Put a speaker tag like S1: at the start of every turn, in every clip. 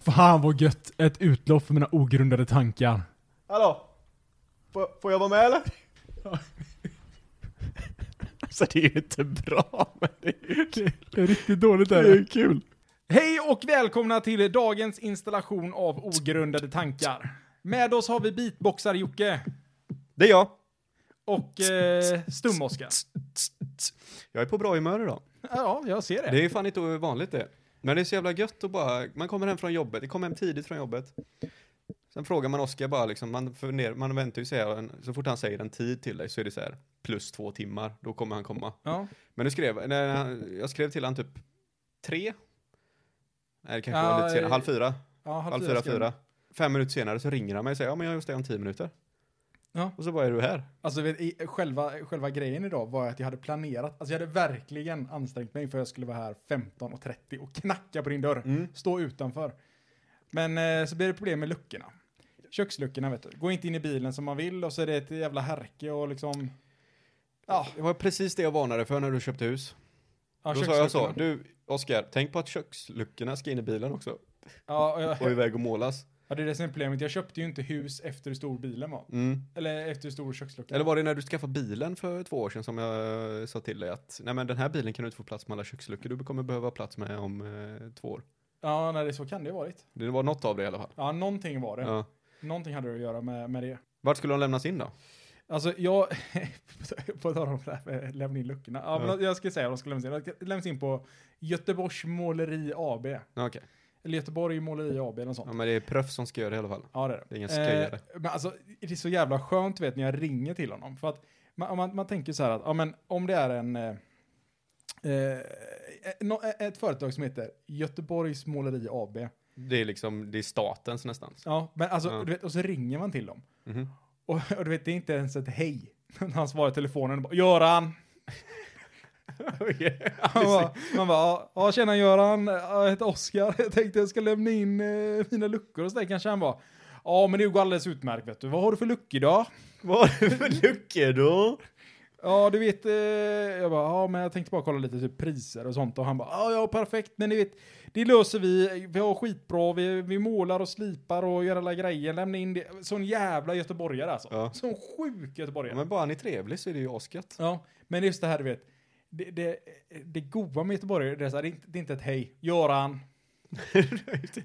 S1: Fan vad gött! Ett utlopp för mina ogrundade tankar.
S2: Hallå? Får, får jag vara med eller?
S3: Alltså det är ju inte bra, men det är ju kul.
S1: Det är riktigt dåligt
S3: Det är ju kul.
S1: Hej och välkomna till dagens installation av ogrundade tankar. Med oss har vi beatboxar-Jocke
S3: Det är jag.
S1: och eh, stum-Oskar.
S3: Jag är på bra humör idag.
S1: Ja, jag ser
S3: Det är ju fan inte vanligt det. Men det är så jävla gött att bara, man kommer hem från jobbet, det kommer hem tidigt från jobbet. Sen frågar man Oskar bara liksom, man, funderar, man väntar ju sig, så fort han säger en tid till dig så är det så här, plus två timmar, då kommer han komma.
S1: Ja.
S3: Men du skrev, när han, jag skrev till han typ tre? Nej, det kanske
S1: Ja,
S3: var lite senare,
S1: eh,
S3: halv fyra?
S1: Ja,
S3: Halv fyra, fyra. Fem minuter senare så ringer han mig och säger, ja men jag är hos dig om tio minuter.
S1: Ja.
S3: Och så bara, är du här?
S1: Alltså vet, i, själva, själva grejen idag var att jag hade planerat, alltså jag hade verkligen ansträngt mig för att jag skulle vara här 15.30 och knacka på din dörr,
S3: Mm.
S1: stå utanför. Men eh, så blir det problem med luckorna. Köksluckorna vet du, gå inte in i bilen som man vill och så är det ett jävla härke och liksom... Ja,
S3: Det var precis det jag varnade för när du köpte hus.
S1: ja
S3: Då sa jag så,
S1: köksluckorna.
S3: du Oskar, tänk på att köksluckorna ska in i bilen också
S1: Ja, och jag,
S3: och iväg och målas.
S1: ja, det är det som är problemet, jag köpte ju inte hus efter hur stor bilen var.
S3: Mm.
S1: Eller efter hur stor köksluckan
S3: Eller var det när du skaffade bilen för två år sedan som jag eh, sa till dig att nej men den här bilen kan du inte få plats med alla köksluckor, du kommer behöva plats med om eh, två år.
S1: Ja, nej, det så kan det ha varit.
S3: Det var något av det i alla fall.
S1: Ja, någonting var det.
S3: Ja.
S1: Någonting hade det att göra med, med det.
S3: Vart skulle de lämnas in då?
S1: Alltså jag, på tal om det här med lämna in luckorna. Ja, men
S3: Ja.
S1: Jag ska säga vad de ska lämnas in. De ska lämnas in på Göteborgs Måleri AB.
S3: Ja, Okej,
S1: Eller Göteborg Måleri AB eller något
S3: ja,
S1: sånt.
S3: men det är proffs som ska göra det i alla fall.
S1: Ja det är det.
S3: Det är ingen sköjare.
S1: Eh, men alltså det är så jävla skönt vet när jag ringer till honom. För att man, om man, man tänker så här att ja, men, om det är en... Eh, eh, nå- eh, ett företag som heter Göteborgs Måleri AB.
S3: Det är liksom, det är statens nästan.
S1: Ja, men alltså,
S3: Ja.
S1: Du vet, och så ringer man till dem.
S3: Mhm.
S1: Och, och du vet, det är inte ens ett hej. När han svarar i telefonen och bara, Göran! Han bara, man bara, "Ja, ja tjena Göran, jag heter Oskar, jag tänkte jag ska lämna in eh, mina luckor och sådär kanske han bara. Ja men det går alldeles utmärkt vet du, vad har du för luckor idag?
S3: Vad har du för luckor då?
S1: Ja du vet, eh, jag bara, ja men jag tänkte bara kolla lite typ priser och sånt och han bara, ja ja perfekt men ni vet, det löser vi, vi har skitbra, vi, vi målar och slipar och gör alla grejer, lämna in det. Sån jävla göteborgare alltså.
S3: Ja.
S1: Sån sjuk göteborgare.
S3: Ja, men bara han är trevlig så är det ju asgött.
S1: Ja, men just det här du vet. Det, det, det goa med Göteborg är det, så här, det, är inte, det är inte ett hej. Göran.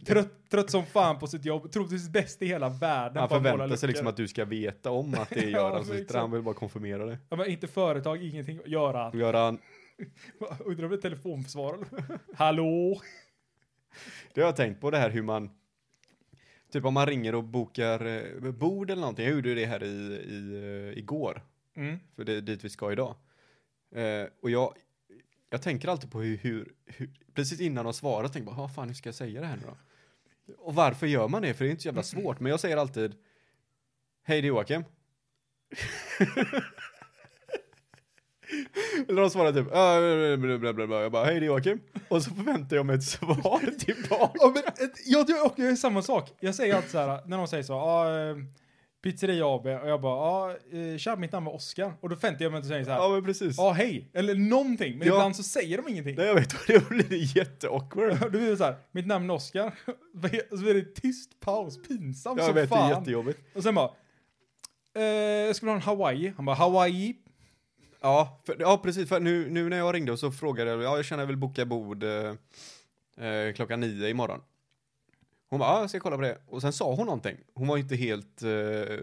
S1: trött, trött som fan på sitt jobb. Troligtvis bäst i hela världen.
S3: Han
S1: på att måla
S3: förväntar
S1: luckor.
S3: sig liksom att du ska veta om att det är Göran som sitter
S1: exakt.
S3: där. han vill bara konfirmera det.
S1: Ja, men inte företag, ingenting. Göran.
S3: Göran,
S1: Undrar om det är telefonförsvar. Hallå?
S3: det har jag tänkt på det här hur man, typ om man ringer och bokar eh, bord eller någonting, jag gjorde ju det här i, i, eh, igår,
S1: Mm.
S3: för det är dit vi ska idag. Eh, och jag, jag tänker alltid på hur, hur, hur precis innan de svarar, tänker jag bara, vad fan, hur ska jag säga det här nu då? Och varför gör man det? För det är inte så jävla svårt, men jag säger alltid, hej det är Joakim. Eller de svarar typ, "Äh, bla, bla, bla, bla. jag bara, hej det är Joakim. Och så förväntar jag mig ett svar tillbaka.
S1: Ja, men, eh, jag, jag, och jag gör samma sak. Jag säger alltid så här, när någon säger så, ah, eh, pizzeria AB, och jag bara, ah, eh, tja, mitt namn var Oskar. Och då väntar jag mig att säga så här,
S3: Ja,
S1: ja
S3: men precis.
S1: ah, hej, eller någonting. Men
S3: Ja.
S1: ibland så säger de ingenting.
S3: Nej, jag vet vad det blir jätteawkward.
S1: Då blir det så här, mitt namn är Oskar. Och så blir det tyst paus, pinsamt
S3: Jag
S1: som
S3: vet, det är
S1: fan.
S3: jättejobbigt.
S1: och sen bara, eh, jag skulle ha en Hawaii. Han bara, Hawaii?
S3: Ja, för, ja precis. För nu, nu när jag ringde och så frågade jag, ja jag känner jag vill boka bord eh, eh, klockan nio imorgon. Hon bara, ja jag ska kolla på det. Och sen sa hon någonting. Hon var ju inte helt, eh,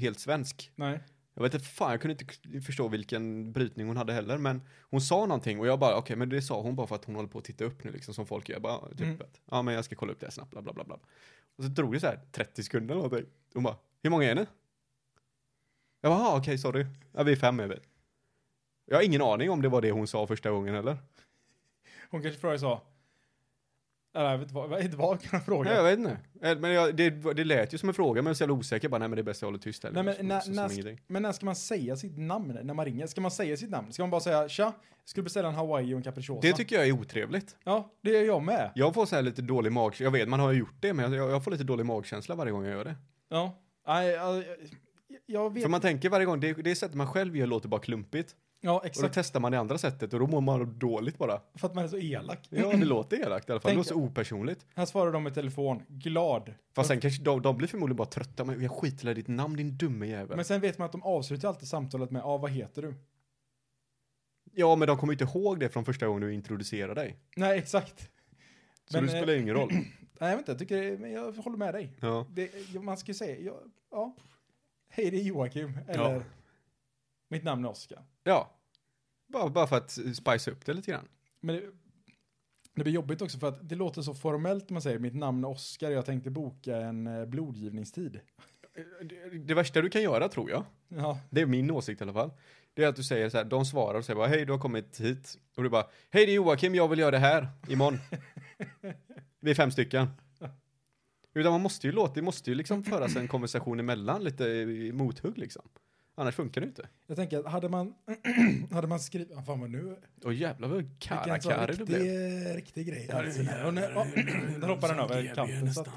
S3: helt svensk.
S1: Nej.
S3: Jag vet inte, fan jag kunde inte k- förstå vilken brytning hon hade heller. Men hon sa någonting och jag bara, okej men det sa hon bara för att hon håller på att titta upp nu liksom som folk gör. Jag bara, typ,
S1: Mm.
S3: att, ja men jag ska kolla upp det här snabbt, bla bla bla. bla. Och så drog det så här 30 sekunder eller någonting. Hon bara, hur många är ni? Jag bara, "Ah, okej sorry. Ja, vi är fem är vi. Jag har ingen aning om det var det hon sa första gången heller.
S1: Hon kanske frågade så. Eller jag vet inte vad, jag vet inte vad jag kan fråga.
S3: Nej, jag vet inte. Eh, Men jag, det, det lät ju som en fråga, men jag är så jävla osäker. Bara, nej men det är bäst jag håller tyst här.
S1: Nej,
S3: Så-
S1: men, när,
S3: så- som
S1: när,
S3: ingenting.
S1: sk- men när ska man säga sitt namn när man ringer? Ska man säga sitt namn? Ska man bara säga tja, jag skulle beställa en Hawaii och en capricciosa?
S3: det tycker jag är otrevligt.
S1: ja, det gör jag med.
S3: Jag får så här lite dålig magkänsla. Jag vet, man har ju gjort det, men jag, jag får lite dålig magkänsla varje gång jag gör det.
S1: Ja. Nej, jag, jag, jag vet
S3: För man tänker varje gång, det, det sättet man själv gör låter bara klumpigt.
S1: Ja,
S3: Och då
S1: exakt.
S3: testar man det andra sättet och då mår man dåligt bara.
S1: För att man är så elak.
S3: Ja, det låter elakt i alla fall. Det
S1: Mm. Tänk-
S3: låter så opersonligt.
S1: Här svarar de i telefon, glad.
S3: Fast sen kanske de, de blir förmodligen bara trötta. Men jag skiter i ditt namn din dumme jävel.
S1: Men sen vet man att de avslutar alltid samtalet med, ja ah, vad heter du?
S3: Ja, men de kommer inte ihåg det från första gången du introducerar dig.
S1: Nej, exakt.
S3: Så
S1: Men, eh,
S3: det spelar ju ingen roll.
S1: Nej, jag vet inte, jag, tycker, det- men jag håller med dig.
S3: Ja.
S1: Det, man ska ju säga, ja, ja. hej det är Joakim, eller
S3: Ja.
S1: mitt namn är Oskar.
S3: ja. Bara, bara för att spice upp det lite grann.
S1: Men det, det blir jobbigt också för att det låter så formellt när man säger mitt namn är Oskar jag tänkte boka en eh, blodgivningstid. Eh,
S3: Det, det värsta du kan göra tror jag,
S1: Ja,
S3: det är min åsikt i alla fall, det är att du säger så här, de svarar och säger bara hej du har kommit hit. Och du bara, hej det är Joakim, jag vill göra det här imorgon. Vi är fem stycken. Utan man måste ju låta, det måste ju liksom föras en konversation emellan, lite i mothugg liksom. Annars funkar det inte.
S1: jag tänker att hade man, hade man skrivit, fan vad nu,
S3: Och jävlar vad
S1: vilken sån
S3: karakare du
S1: riktig,
S3: blev.
S1: riktig grej. Alltså, och nu, ja, där hoppar den över kanten. Så att,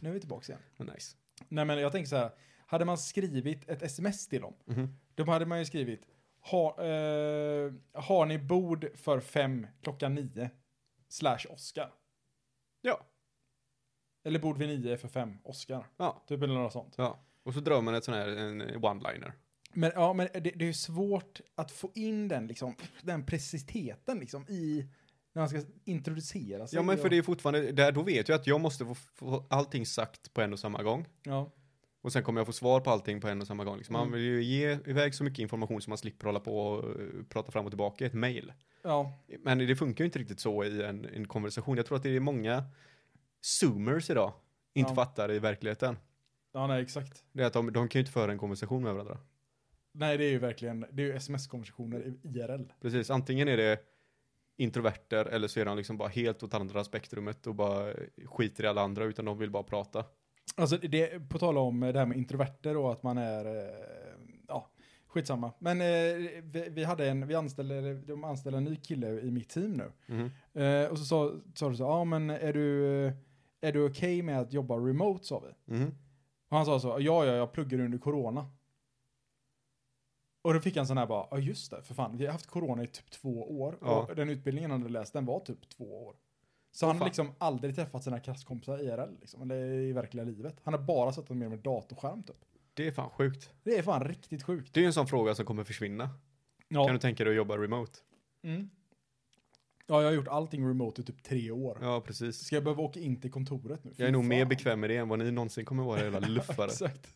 S1: nu är vi tillbaka igen.
S3: Nice.
S1: Nej men jag tänker så här, hade man skrivit ett sms till dem,
S3: Mhm.
S1: då hade man ju skrivit, ha, eh, har ni bord för fem klockan nio, slash Oskar.
S3: Ja,
S1: Eller bord vid nio för fem, Oskar.
S3: ja,
S1: Typ eller något sånt.
S3: ja. Och så drar man ett sån här en one-liner.
S1: Men, ja, men det, det är ju svårt att få in den, liksom, den precisiteten liksom, i när man ska introducera sig.
S3: Ja men för
S1: Och-
S3: det är fortfarande, där, då vet jag att jag måste få, få allting sagt på en och samma gång.
S1: Ja,
S3: Och sen kommer jag få svar på allting på en och samma gång. Liksom. Man
S1: Mm.
S3: vill ju ge iväg så mycket information som man slipper hålla på och eh, prata fram och tillbaka i ett mejl.
S1: ja,
S3: Men det funkar ju inte riktigt så i en, en konversation. Jag tror att det är många zoomers idag inte
S1: Ja.
S3: fattar i verkligheten.
S1: ja, nej exakt.
S3: Det är att de, de kan ju inte föra en konversation med varandra.
S1: Nej, det är ju verkligen, det är ju sms-konversationer i IRL.
S3: Precis, antingen är det introverter eller så är de liksom bara helt åt andra spektrumet och bara skiter i alla andra utan de vill bara prata.
S1: Alltså, det, på tal om eh, det här med introverter och att man är, eh, ja, skitsamma. Men eh, vi, vi hade en, vi anställde, eller de anställde en ny kille i mitt team nu.
S3: Mhm.
S1: Eh, och så sa, sa du så, ja men är du, eh, är du okej med att jobba remote sa vi.
S3: Mhm.
S1: Och han sa så, ja, ja, jag pluggar under corona. Och då fick han sån här bara, ja just det, för fan, vi har haft corona i typ två år.
S3: Ja.
S1: Och den utbildningen han hade läst, den var typ två år. Så han har
S3: fan.
S1: liksom aldrig träffat sina klasskompisar IRL, liksom, eller i verkliga livet. Han har bara suttit med dem i datorskärm typ.
S3: Det är fan sjukt.
S1: Det är fan riktigt sjukt.
S3: Det är ju en sån fråga som kommer försvinna. Kan
S1: Ja.
S3: du tänka dig att jobba remote?
S1: Mm. ja, jag har gjort allting remote i typ tre år.
S3: Ja, precis.
S1: Ska jag behöva åka in till kontoret nu?
S3: Jag är nog
S1: Fy
S3: mer
S1: fan.
S3: bekväm med det än vad ni någonsin kommer vara jävla luffare.
S1: Exakt.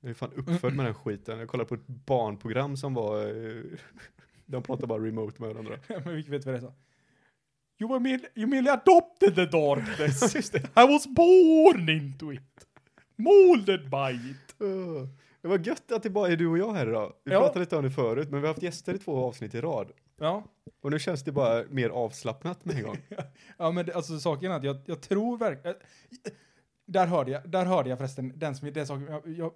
S3: Jag är fan uppfödd med den här skiten. Jag kollade på ett barnprogram som var... eh, De pratade bara remote med varandra.
S1: Men vilket vet vad det är så. You were merely, you merely adopted the darkness.
S3: Just det.
S1: I was born into it. Molded by it.
S3: Öh. Det var gött att det bara är du och jag här idag. Vi
S1: Ja.
S3: pratade lite om det förut, men vi har haft gäster i två avsnitt i rad.
S1: Ja.
S3: Och nu känns det bara mer avslappnat med en gång.
S1: Ja men det, alltså saken är att jag, jag tror verkligen... Där hörde jag, där hörde jag förresten den som, den saken, jag, jag,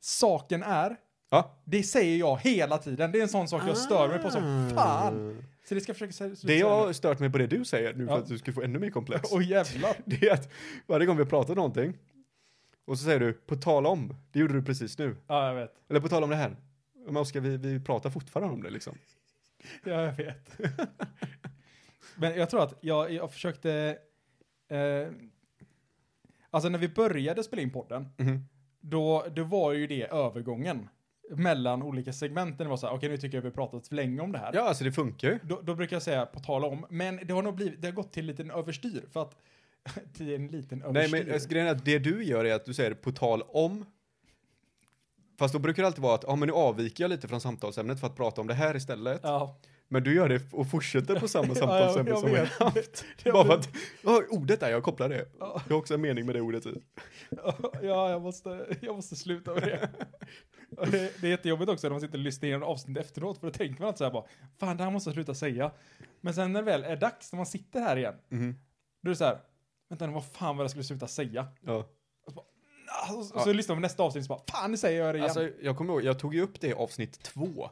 S1: saken är,
S3: Ja.
S1: det säger jag hela tiden. Det är en sån sak jag stör mig på som fan. Så Ah. det ska jag försöka säga.
S3: Det jag har stört mig på det du säger nu för
S1: Ja.
S3: att du ska få ännu mer komplex.
S1: Åh jävlar.
S3: Det är att varje gång vi pratar om någonting och så säger du på tal om, det gjorde du precis nu.
S1: Ja jag vet.
S3: Eller på tal om det här. Men Oskar, vi, vi pratar fortfarande om det liksom.
S1: Ja, jag vet. Men jag tror att jag, jag försökte... Eh, alltså när vi började spela in podden,
S3: Mhm.
S1: då, då var ju det övergången mellan olika segmenten. Det var så här, okej nu tycker jag vi har pratat för länge om det här.
S3: Ja, alltså det funkar ju.
S1: Då, då brukar jag säga på tal om, men det har nog blivit, det har gått till en liten överstyr för att till en liten
S3: Nej,
S1: överstyr.
S3: men alltså, grejen är att det du gör är att du säger på tal om. Fast då brukar det alltid vara att, ja men nu avviker jag lite från samtalsämnet för att prata om det här istället.
S1: Ja,
S3: Men du gör det och fortsätter på samma
S1: ja, jag,
S3: samtalsämne
S1: jag
S3: som jag.
S1: vet. Det- det-
S3: Bara för att, ja, ordet där, jag kopplar det. Jag har också en mening med det ordet i.
S1: Ja, jag måste, jag måste sluta med det. Och det. Det är jättejobbigt också när man sitter och lyssnar igenom avsnitt efteråt, för då tänker man alltid så här bara, fan det här måste jag sluta säga. Men sen när det väl är dags, när man sitter här igen,
S3: Mhm.
S1: då är det så här, vänta nu, vad fan var det jag skulle sluta säga?
S3: Ja.
S1: Ah, Och så, och så lyssnar man på nästa avsnitt och så bara, fan nu säger jag det igen.
S3: Alltså, jag kommer ihåg, jag tog ju upp det i avsnitt två.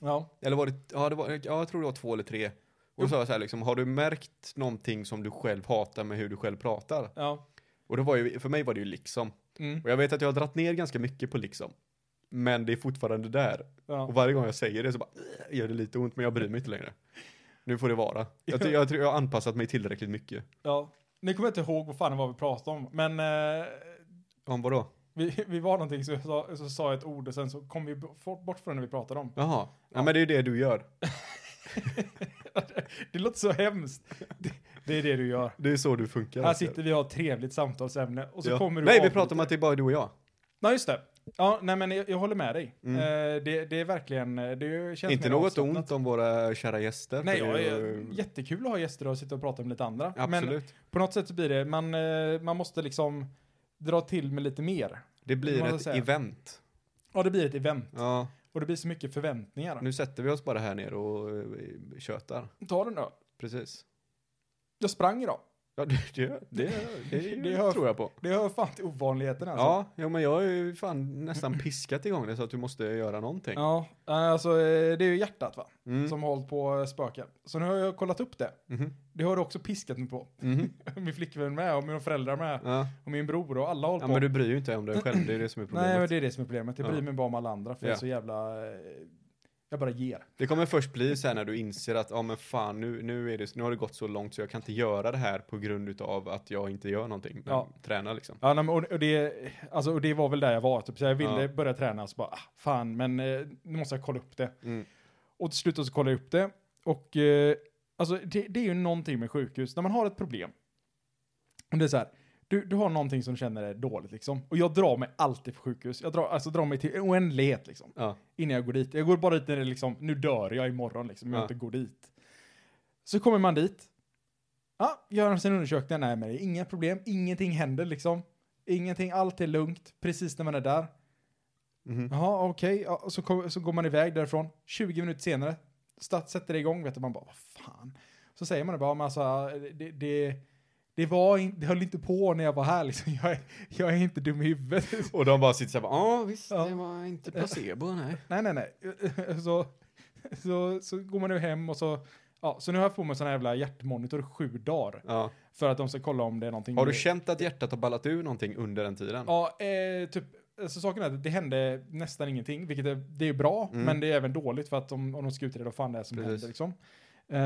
S1: ja,
S3: Eller var det, ja, det var, ja jag tror det var två eller tre. Och så sa jag så här liksom, har du märkt någonting som du själv hatar med hur du själv pratar?
S1: ja.
S3: Och det var ju, för mig var det ju liksom.
S1: Mm.
S3: Och jag vet att jag har dratt ner ganska mycket på liksom. Men det är fortfarande där.
S1: Ja.
S3: Och varje gång jag säger det så bara "Ugh", gör det lite ont men jag bryr mig inte längre. Nu får det vara. Jag, ty- jag tror jag har anpassat mig tillräckligt mycket.
S1: ja. Nu kommer jag inte ihåg vad fan det var vi pratade om, men eh,
S3: Om vadå?
S1: vi, vi var någonting så, sa- så sa jag ett ord och sen så kom vi b- fort- bort från det vi pratade om.
S3: Jaha. Ja men det är ju det du gör.
S1: Det låter så hemskt. Det, det är det du gör.
S3: Det är så du funkar.
S1: Här sitter vi och har ett trevligt samtalsämne och så
S3: Ja.
S1: kommer du
S3: Nej
S1: och
S3: vi
S1: avbryter.
S3: pratar om att det är bara du och jag.
S1: Nej, just det. Ja, nej men jag, jag håller med dig.
S3: Mm.
S1: Eh, det, det är verkligen, eh, det känns
S3: inte
S1: mer
S3: något
S1: avslappnat.
S3: ont om våra kära gäster.
S1: Nej,
S3: för
S1: jag,
S3: det är
S1: är
S3: ju-
S1: jättekul att ha gäster och sitta och prata om lite andra. Men
S3: Absolut.
S1: på något sätt så blir det, man, eh, man måste liksom dra till med lite mer.
S3: det
S1: vad
S3: blir
S1: ska
S3: ett
S1: jag säga?
S3: event.
S1: Ja, det blir ett event
S3: Ja,
S1: och det blir så mycket förväntningar.
S3: nu sätter vi oss bara här nere och eh, tjötar.
S1: Ta den då.
S3: Precis.
S1: Jag sprang idag.
S3: Ja, det, det, det, det,
S1: Det alltså. hör-
S3: tror jag på.
S1: Det hör fan till ovanligheten alltså.
S3: Ja, ja, men jag har ju fan nästan piskat igång det så att du måste göra någonting.
S1: Ja, alltså eh, det är ju hjärtat va,
S3: Mm.
S1: som har hållit på eh, spöken. Så nu har jag kollat upp det.
S3: Mhm.
S1: Det har du också piskat mig på.
S3: Mhm.
S1: Min flickvän med och mina föräldrar med
S3: Ja.
S1: och min bror och alla har hållit
S3: ja,
S1: på.
S3: men du bryr ju inte dig om dig själv, det är det som är
S1: Nej,
S3: problemet.
S1: men det är det som är problemet. Jag bryr
S3: Ja.
S1: mig bara om alla andra för jag är
S3: Ja.
S1: så jävla... eh, Jag bara ger.
S3: Det kommer först bli så här när du inser att, ja men fan nu, nu, är det, nu har det gått så långt så jag kan inte göra det här på grund utav att jag inte gör någonting. Men
S1: Ja.
S3: tränar liksom.
S1: Ja, nej, men, och, och, det, alltså, och det var väl där jag var. Typ. Så jag ville
S3: Ja.
S1: börja träna så bara, ah, fan, men eh, nu måste jag kolla upp det.
S3: Mm.
S1: Och till slut så kollade jag upp det. Och eh, alltså, det, det är ju någonting med sjukhus. När man har ett problem. Och det är så här. Du, du har någonting som känner är dåligt liksom. Och jag drar mig alltid för sjukhus. Jag drar, alltså, drar mig till oändlighet liksom.
S3: Ja.
S1: innan jag går dit. Jag går bara dit när det är liksom, nu dör jag imorgon liksom, jag
S3: Ja.
S1: inte går dit. Så kommer man dit. Ja, gör sin undersökning, nej men det är inga problem, ingenting händer liksom. Ingenting, allt är lugnt, precis när man är där.
S3: Mhm.
S1: Jaha, okej, ja, och så, kom, så går man iväg därifrån. 20 minuter senare, stat sätter det igång, vet du, man bara, vad fan. Så säger man det bara, "Ja, men alltså, det, det, det var in, det höll inte på när jag var här liksom. Jag är, jag är inte dum i huvudet.
S3: Och de bara sitter såhär, ja visst,
S1: Ja.
S3: det var inte placebo, nej.
S1: Nej, nej, nej. Så, så, så går man nu hem och så... Ja, så nu har jag på mig sån här jävla hjärtmonitor sju dagar.
S3: Ja.
S1: För att de ska kolla om det är någonting...
S3: Har du känt att hjärtat har ballat ur någonting under den tiden?
S1: Ja, eh, typ. Så saken är att det hände nästan ingenting, vilket är, det är bra,
S3: Mm.
S1: men det är även dåligt för att om, om de ska utreda vad fan det är som
S3: Precis.
S1: händer liksom. Eh,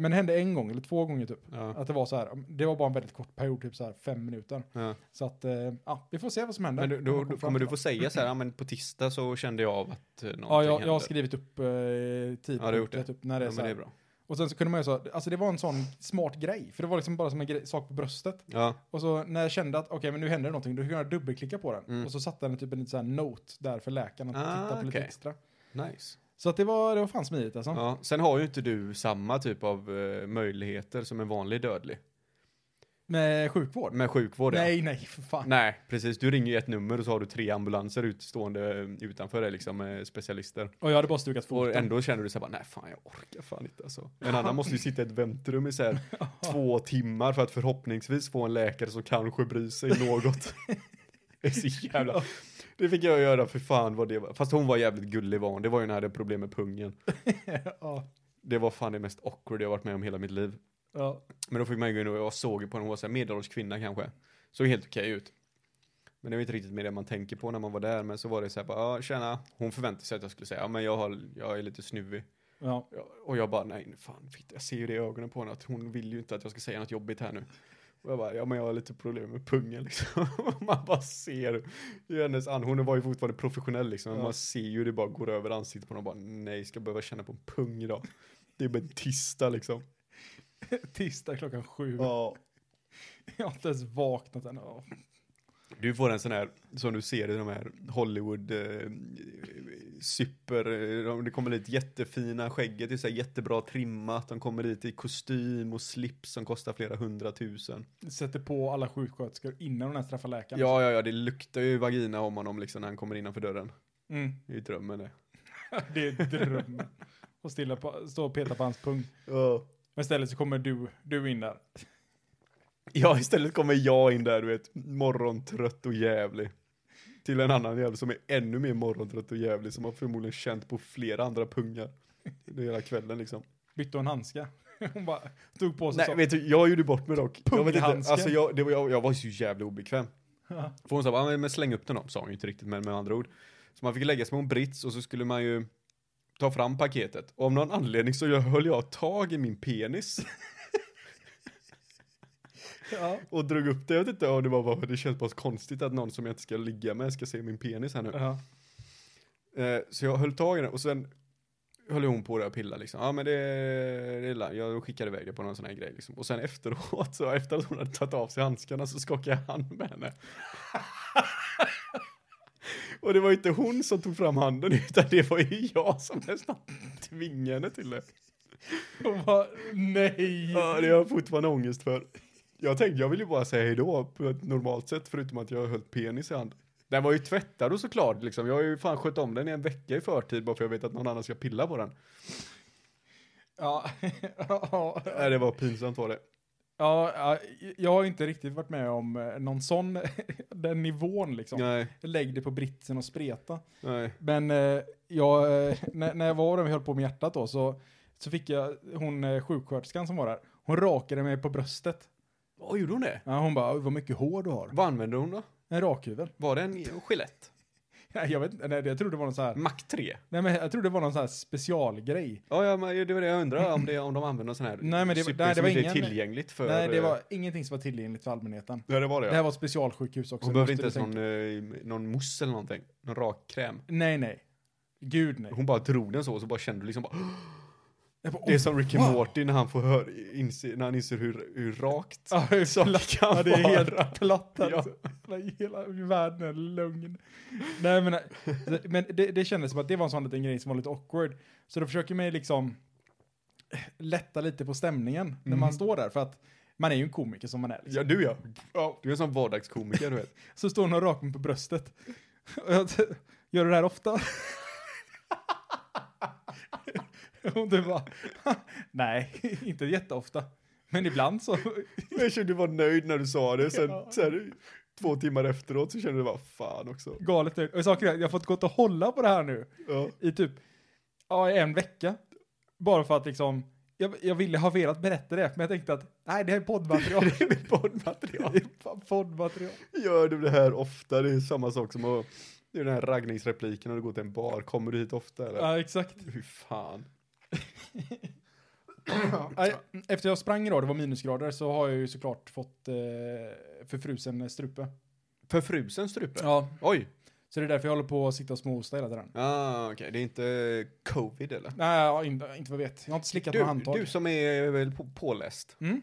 S1: men det hände en gång, eller två gånger typ.
S3: Ja.
S1: Att det var så här, det var bara en väldigt kort period, typ så här fem minuter.
S3: Ja.
S1: Så att, eh, ja, vi får se vad som händer.
S3: Men du, då,
S1: Vad de
S3: då
S1: kommer fram
S3: kommer du
S1: till.
S3: få säga så här, ja men på tisdag så kände jag av att eh, någonting
S1: Ja, jag, jag har
S3: händer."
S1: skrivit upp eh,
S3: Ja, du har gjort
S1: tidpunkter,
S3: det.
S1: typ när det är
S3: Ja,
S1: så
S3: men
S1: här,
S3: det är bra.
S1: Och sen så kunde man ju så, alltså det var en sån smart grej, för det var liksom bara som en grej, sak på bröstet.
S3: Ja,
S1: Och så när jag kände att okej, men nu händer det någonting, då kunde jag dubbelklicka på den.
S3: Mm.
S1: Och så satte den typ en liten sån här note där för läkaren att
S3: Ah,
S1: titta på lite
S3: okej.
S1: extra.
S3: nice.
S1: Så att det var, det var fan smidigt alltså.
S3: Ja. Sen har ju inte du samma typ av eh, möjligheter som en vanlig dödlig.
S1: Med sjukvård.
S3: Med sjukvård ja.
S1: nej, nej, för fan.
S3: Nej, precis. Du ringer ju ett nummer och så har du tre ambulanser utstående eh, utanför dig, liksom eh, specialister.
S1: Och jag hade bara stukat
S3: Och
S1: foten.
S3: ändå känner du så här bara, nej fan jag orkar fan inte alltså. En annan måste ju sitta i ett väntrum i så här två timmar för att förhoppningsvis få en läkare som kanske bryr sig något. Det är så jävla... Det fick jag göra, för fan vad det var. Fast hon var jävligt gullig var hon. Det var ju när jag hade problem med pungen.
S1: ja,
S3: Det var fan det mest awkward jag varit med om hela mitt liv.
S1: ja.
S3: Men då fick man ju gå in och jag såg ju på henne, hon var så här medelålders kvinna kanske. Såg helt okej ut. Men det var inte riktigt med det man tänker på när man var där. Men så var det så här bara, ja tjena. Hon förväntade sig att jag skulle säga, ja men jag, har, jag är lite snuvig.
S1: ja.
S3: Ja, Och jag bara, nej fan, fitt, jag ser ju det i ögonen på henne att hon vill ju inte att jag ska säga något jobbigt här nu. Och jag bara, ja men jag har lite problem med pungen liksom. Och man bara ser i hennes an, hon var ju fortfarande professionell liksom, men
S1: Ja.
S3: man ser ju det bara går över ansiktet på henne och bara, nej, ska jag behöva känna på en pung idag? Det är bara en tisdag liksom.
S1: Tisdag klockan sju.
S3: Ja.
S1: Jag har inte ens vaknat än. Ja.
S3: Du får en sån här, som du ser i de här Hollywood eh, super, eh, de- det kommer dit jättefina, skägget är så här jättebra trimmat, de kommer dit i kostym och slips som kostar flera hundratusen.
S1: Sätter på alla sjuksköterskor innan de ens träffar läkaren.
S3: Ja, ja, ja, det luktar ju vagina om honom liksom när han kommer innanför dörren.
S1: Mm.
S3: Det är ju drömmen det.
S1: Det är drömmen. Och stilla på, stå och peta på hans pung. Men istället så kommer du, du in där.
S3: Ja, istället kommer jag in där, du vet, morgontrött och jävlig. Till en annan jävel som är ännu mer morgontrött och jävlig, som har förmodligen känt på flera andra pungar. Det hela kvällen liksom.
S1: Bytte hon handska. Hon bara tog på sig
S3: Nej,
S1: så.
S3: vet du, jag gjorde bort mig dock. Jag vet inte,
S1: Punghandsken.
S3: alltså jag, det var, jag, jag var så jävla obekväm.
S1: Ja.
S3: För hon sa bara, "Ah, men släng upp den då, sa hon ju inte riktigt, men med andra ord. Så man fick lägga sig på en brits och så skulle man ju ta fram paketet. Och av någon anledning så jag- höll jag tag i min penis
S1: Ja.
S3: och drog upp det. Jag vet inte om det var bara, det känns bara så konstigt att någon som jag inte ska ligga med ska se min penis här nu.
S1: Ja.
S3: Eh, så jag höll tag i den och sen höll hon på det och pillade liksom. Ja men det, det är la- jag skickade iväg det på någon sån här grej liksom. Och sen efteråt så, efter att hon hade tagit av sig handskarna så skakade jag hand med henne. och det var ju inte hon som tog fram handen utan det var ju jag som nästan tvingade henne till det.
S1: Och bara, nej.
S3: Ja, det har jag fortfarande ångest för. Jag tänkte, jag vill ju bara säga hejdå på ett normalt sätt, förutom att jag höll penis i hand. Den var ju tvättad och såklart, liksom. Jag har ju fan skött om den i en vecka i förtid bara för jag vet att någon annan ska pilla på den.
S1: Ja. ja.
S3: Nej, det var pinsamt var det.
S1: Ja, ja, jag har inte riktigt varit med om eh, någon sån, den nivån liksom.
S3: Nej,
S1: Lägg det på britsen och spreta.
S3: nej.
S1: Men eh, jag, eh, när, när jag var och höll på med hjärtat då så, så fick jag hon eh, sjuksköterskan som var där. Hon rakade mig på bröstet.
S3: Vad gjorde hon det?
S1: Ja, hon bara, "Oj, vad mycket hår du har.
S3: Vad använde hon då?
S1: En rakhyvel.
S3: Var det en Gillette?
S1: Nej, jag vet inte, nej, jag trodde det var någon så här,
S3: Mac 3?
S1: nej men jag trodde det var någon så här specialgrej.
S3: Ja, ja, men det var det jag undrade om, det, om de använde någon sån här
S1: Nej, men det-
S3: cykel
S1: nej, det
S3: som
S1: var
S3: inte är
S1: ingen-
S3: tillgängligt för...
S1: nej, det
S3: eh,
S1: var ingenting som var tillgängligt för allmänheten.
S3: Ja, det var det.
S1: Det här
S3: ja.
S1: var ett specialsjukhus också.
S3: Hon behövde inte
S1: måste
S3: ens
S1: du
S3: någon, eh, någon mousse eller någonting. Någon rakkräm.
S1: tänka. Nej, nej. Gud nej.
S3: Hon bara drog den så och så bara kände du liksom bara,
S1: Jag bara,
S3: Det är
S1: "Oj,
S3: som Rick and
S1: wow."
S3: Morty när han får hör, inse, när han inser hur, hur rakt
S1: Ja, hur
S3: saker kan
S1: Ja, det är
S3: vara.
S1: helt platt
S3: Ja.
S1: alltså. Hela världen är lögn. Nej men, alltså, men det, det kändes som att det var en sån liten grej som var lite awkward. Så då försöker man ju liksom lätta lite på stämningen när
S3: Mm.
S1: man står där för att man är ju en komiker som man är. Liksom.
S3: Ja, du ja. Du är en sån vardagskomiker, du vet.
S1: Så står hon och rakar mig på bröstet. Och jag, t- gör du det här ofta? Hon typ bara, nej, inte jätteofta. Men ibland så,
S3: Jag kände du var nöjd när du sa det, sen
S1: Ja.
S3: så här, två timmar efteråt så kände du bara, fan också.
S1: galet nöjd. Och saken är, att jag har fått gått och hålla på det här nu.
S3: Ja.
S1: i typ ja, i en vecka. Bara för att liksom, jag, jag ville ha velat berätta det, men jag tänkte att nej, det här är poddmaterial.
S3: Det är mitt poddmaterial.
S1: det är fan poddmaterial.
S3: Gör du det här ofta? Det är samma sak som att, det är den här raggningsrepliken när du går till en bar, kommer du hit ofta eller?
S1: Ja, exakt.
S3: Hur fan?
S1: Nej, Efter jag sprang idag, det var minusgrader, så har jag ju såklart fått eh, förfrusen strupe.
S3: Förfrusen strupe?
S1: Ja.
S3: Oj!
S1: Så det är därför jag håller på att sitta och småhosta hela tiden.
S3: Ah, okej, det är inte covid eller?
S1: Nej, ja, inte, inte vad jag vet. Jag har inte slickat på handtag.
S3: Du, du som är väl på, påläst.
S1: Mm?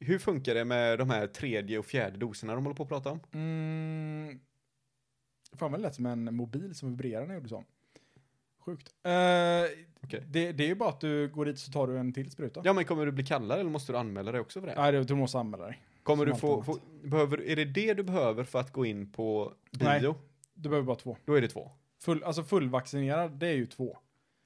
S3: Hur funkar det med de här tredje och fjärde doserna de håller på att prata om?
S1: Mm. Fan vad det lät som en mobil som vibrerar när jag gjorde så. Sjukt. Eh,
S3: Okej.
S1: det, det är ju bara att du går dit så tar du en till spruta.
S3: Ja men kommer du bli kallare eller måste du anmäla dig också för det?
S1: Nej, det- du måste anmäla dig.
S3: kommer du
S1: som
S3: få,
S1: allt
S3: få behöver, är det det du behöver för att gå in på bio?
S1: Nej. Du behöver bara två.
S3: Då är det två.
S1: Full, alltså fullvaccinerad, det är ju två.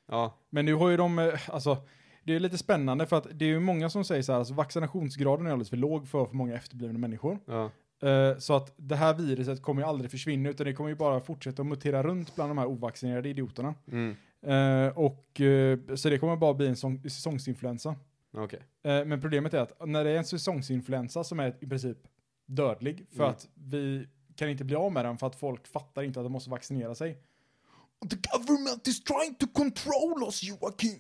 S3: Ja,
S1: Men nu har ju de, eh, alltså, det är lite spännande för att det är ju många som säger så här, alltså, vaccinationsgraden är alldeles för låg för för många efterblivna människor.
S3: ja.
S1: Eh, så att det här viruset kommer ju aldrig försvinna utan det kommer ju bara fortsätta att mutera runt bland de här ovaccinerade idioterna.
S3: Mm.
S1: Eh, och, eh, så det kommer bara bli en sång, säsongsinfluensa.
S3: Okej.
S1: Eh, men problemet är att när det är en säsongsinfluensa som är i princip dödlig för
S3: Mm.
S1: att vi kan inte bli av med den för att folk fattar inte att de måste vaccinera sig. The government is trying to control us Joakim.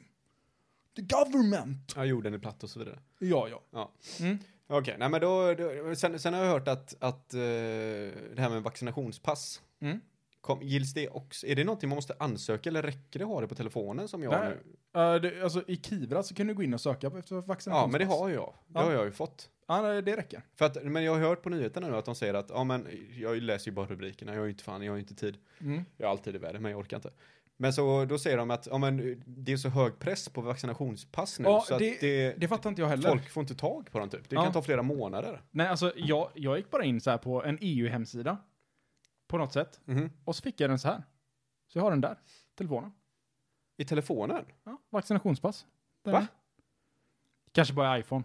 S1: The government.
S3: Ja, jorden är platt och så vidare.
S1: Ja, ja.
S3: Ja.
S1: Mm.
S3: Okej, nej men då, då sen, sen har jag hört att, att eh, det här med vaccinationspass,
S1: Mm.
S3: kom, gills det också? Är det någonting man måste ansöka eller räcker det att ha det på telefonen som jag har
S1: Nej.
S3: nu?
S1: Eh, det, alltså i Kivra så kan du gå in och söka på- efter vaccination.
S3: Ja, men det har jag. Det
S1: Ja.
S3: har jag ju fått.
S1: Ja, nej, det räcker.
S3: För att, men jag har hört på nyheterna nu att de säger att, ja men jag läser ju bara rubrikerna, jag har ju inte fan, jag har ju inte tid.
S1: Mm.
S3: Jag har alltid i världen, men jag orkar inte. Men så då säger de att, ja men det är så hög press på vaccinationspass nu
S1: Ja,
S3: så
S1: det-
S3: att det,
S1: Det fattar inte jag heller.
S3: folk får inte tag på dem typ. Det
S1: Ja.
S3: kan ta flera månader.
S1: Nej, alltså jag, jag gick bara in så här på en EU-hemsida. På något sätt.
S3: Mhm.
S1: Och så fick jag den så här. Så jag har den där. Telefonen.
S3: I telefonen?
S1: Ja, vaccinationspass. Den
S3: Va?
S1: är. Kanske bara iPhone.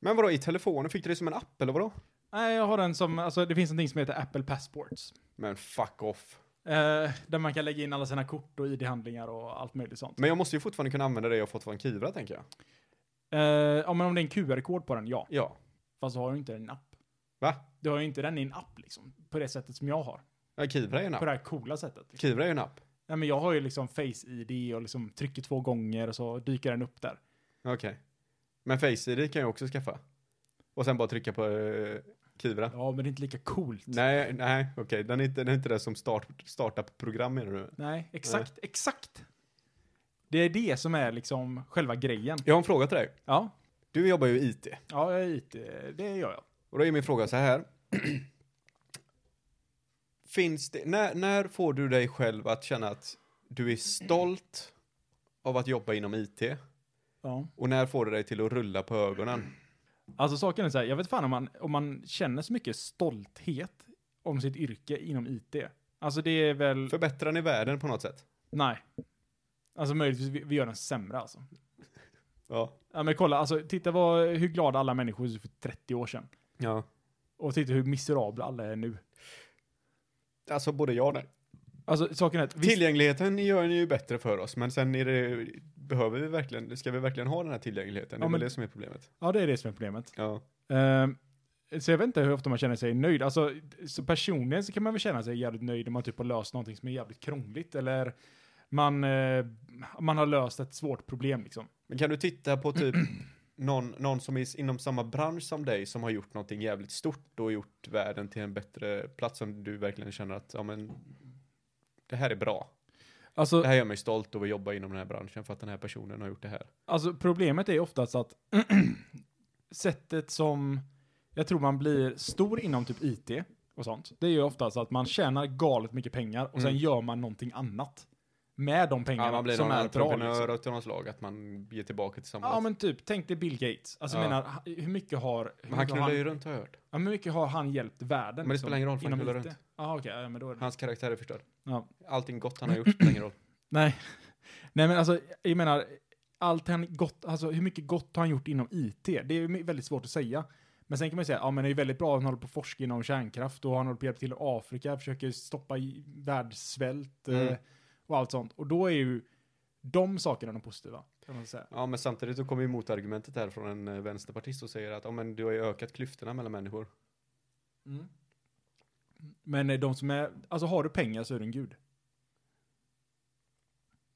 S3: Men vadå, i telefonen? Fick du det som en app eller vadå?
S1: Nej, jag har den som, alltså det finns någonting som heter Apple Passports.
S3: Men fuck off.
S1: Eh, där man kan lägga in alla sina kort och ID-handlingar och allt möjligt sånt.
S3: Men jag måste ju fortfarande kunna använda det jag fått från Kivra tänker jag.
S1: Eh, ja, men om det är en QR-kod på den, ja.
S3: Ja.
S1: Fast du har ju inte den i en app.
S3: Va?
S1: Du har ju inte den i en app liksom, på det sättet som jag har.
S3: Ja, Kivra är en
S1: På
S3: app.
S1: det här coola sättet. Liksom.
S3: Kivra är ju en app.
S1: Nej, men jag har ju liksom face-id och liksom trycker två gånger och så dyker den upp där.
S3: Okej. Men Face ID kan jag också skaffa. Och sen bara trycka på eh, Kivra.
S1: Ja, men det är inte lika coolt.
S3: Nej, nej, okej. Den, är inte- den är inte det som start, startup-program menar du?
S1: Nej, exakt, exakt. Det är det som är liksom själva grejen.
S3: Jag har en fråga till dig.
S1: Ja,
S3: Du jobbar ju i IT.
S1: ja jag är IT, det gör jag.
S3: Och då är min fråga så här. Finns det, när, när får du dig själv att känna att du är stolt av att jobba inom IT?
S1: Ja.
S3: Och när får du dig till att rulla på ögonen?
S1: Alltså saken är så här, jag vet fan om man, om man känner så mycket stolthet om sitt yrke inom IT. Alltså det är väl,
S3: Förbättrar ni världen på något sätt?
S1: nej. Alltså möjligtvis vi, vi gör den sämre alltså.
S3: Ja.
S1: Ja men kolla, alltså titta vad, hur glada alla människor var för 30 år sedan.
S3: ja.
S1: Och titta hur miserabla alla är nu.
S3: Alltså både jag och nej.
S1: Alltså saken är att, visst,
S3: Tillgängligheten gör ni ju bättre för oss, men sen är det, behöver vi verkligen, ska vi verkligen ha den här tillgängligheten? Det
S1: Ja,
S3: är
S1: men-
S3: väl det som är problemet.
S1: ja det är det som är problemet.
S3: Ja.
S1: Ehm, så jag vet inte hur ofta man känner sig nöjd. Alltså, så personligen så kan man väl känna sig jävligt nöjd om man typ har löst någonting som är jävligt krångligt eller man, eh, man har löst ett svårt problem liksom.
S3: Men kan du titta på typ någon, någon som är inom samma bransch som dig som har gjort någonting jävligt stort och gjort världen till en bättre plats som du verkligen känner att, ja men, det här är bra.
S1: Alltså,
S3: Det här gör mig stolt över att jobba inom den här branschen för att den här personen har gjort det här.
S1: alltså problemet är oftast att sättet som jag tror man blir stor inom typ IT och sånt, det är ju oftast att man tjänar galet mycket pengar och sen
S3: Mm.
S1: gör man någonting annat med de pengarna
S3: Ja, man blir
S1: som
S3: någon
S1: är bra.
S3: entreprenör
S1: liksom.
S3: av något slag, att man ger tillbaka till samhället.
S1: Ja
S3: men,
S1: men typ, tänk dig Bill Gates. Alltså jag
S3: Ja.
S1: menar, hur mycket har... Hur
S3: han
S1: mycket har
S3: knullar ju runt har jag hört.
S1: Ja, men hur mycket har han hjälpt världen? liksom?
S3: Men det spelar ingen roll, för han knullar runt.
S1: Ja, okej, ja, men då är det...
S3: Hans karaktär är förstörd.
S1: Ja.
S3: Allting gott han har gjort spelar ingen roll.
S1: Nej. Nej, men alltså, jag menar, allt han gott, alltså hur mycket gott har han gjort inom IT? Det är ju my- väldigt svårt att säga. Men sen kan man ju säga, ja men det är ju väldigt bra att han håller på att forska inom kärnkraft och han håller på att hjälpa till i Afrika, försöker stoppa i- världssvält eh,
S3: Mm.
S1: och allt sånt. Och då är ju de sakerna de positiva, kan man säga.
S3: Ja, men samtidigt så kommer ju motargumentet här från en eh, vänsterpartist och säger att, ja men du har ju ökat klyftorna mellan människor.
S1: Mm. Men eh, de som är, alltså har du pengar så är du en gud.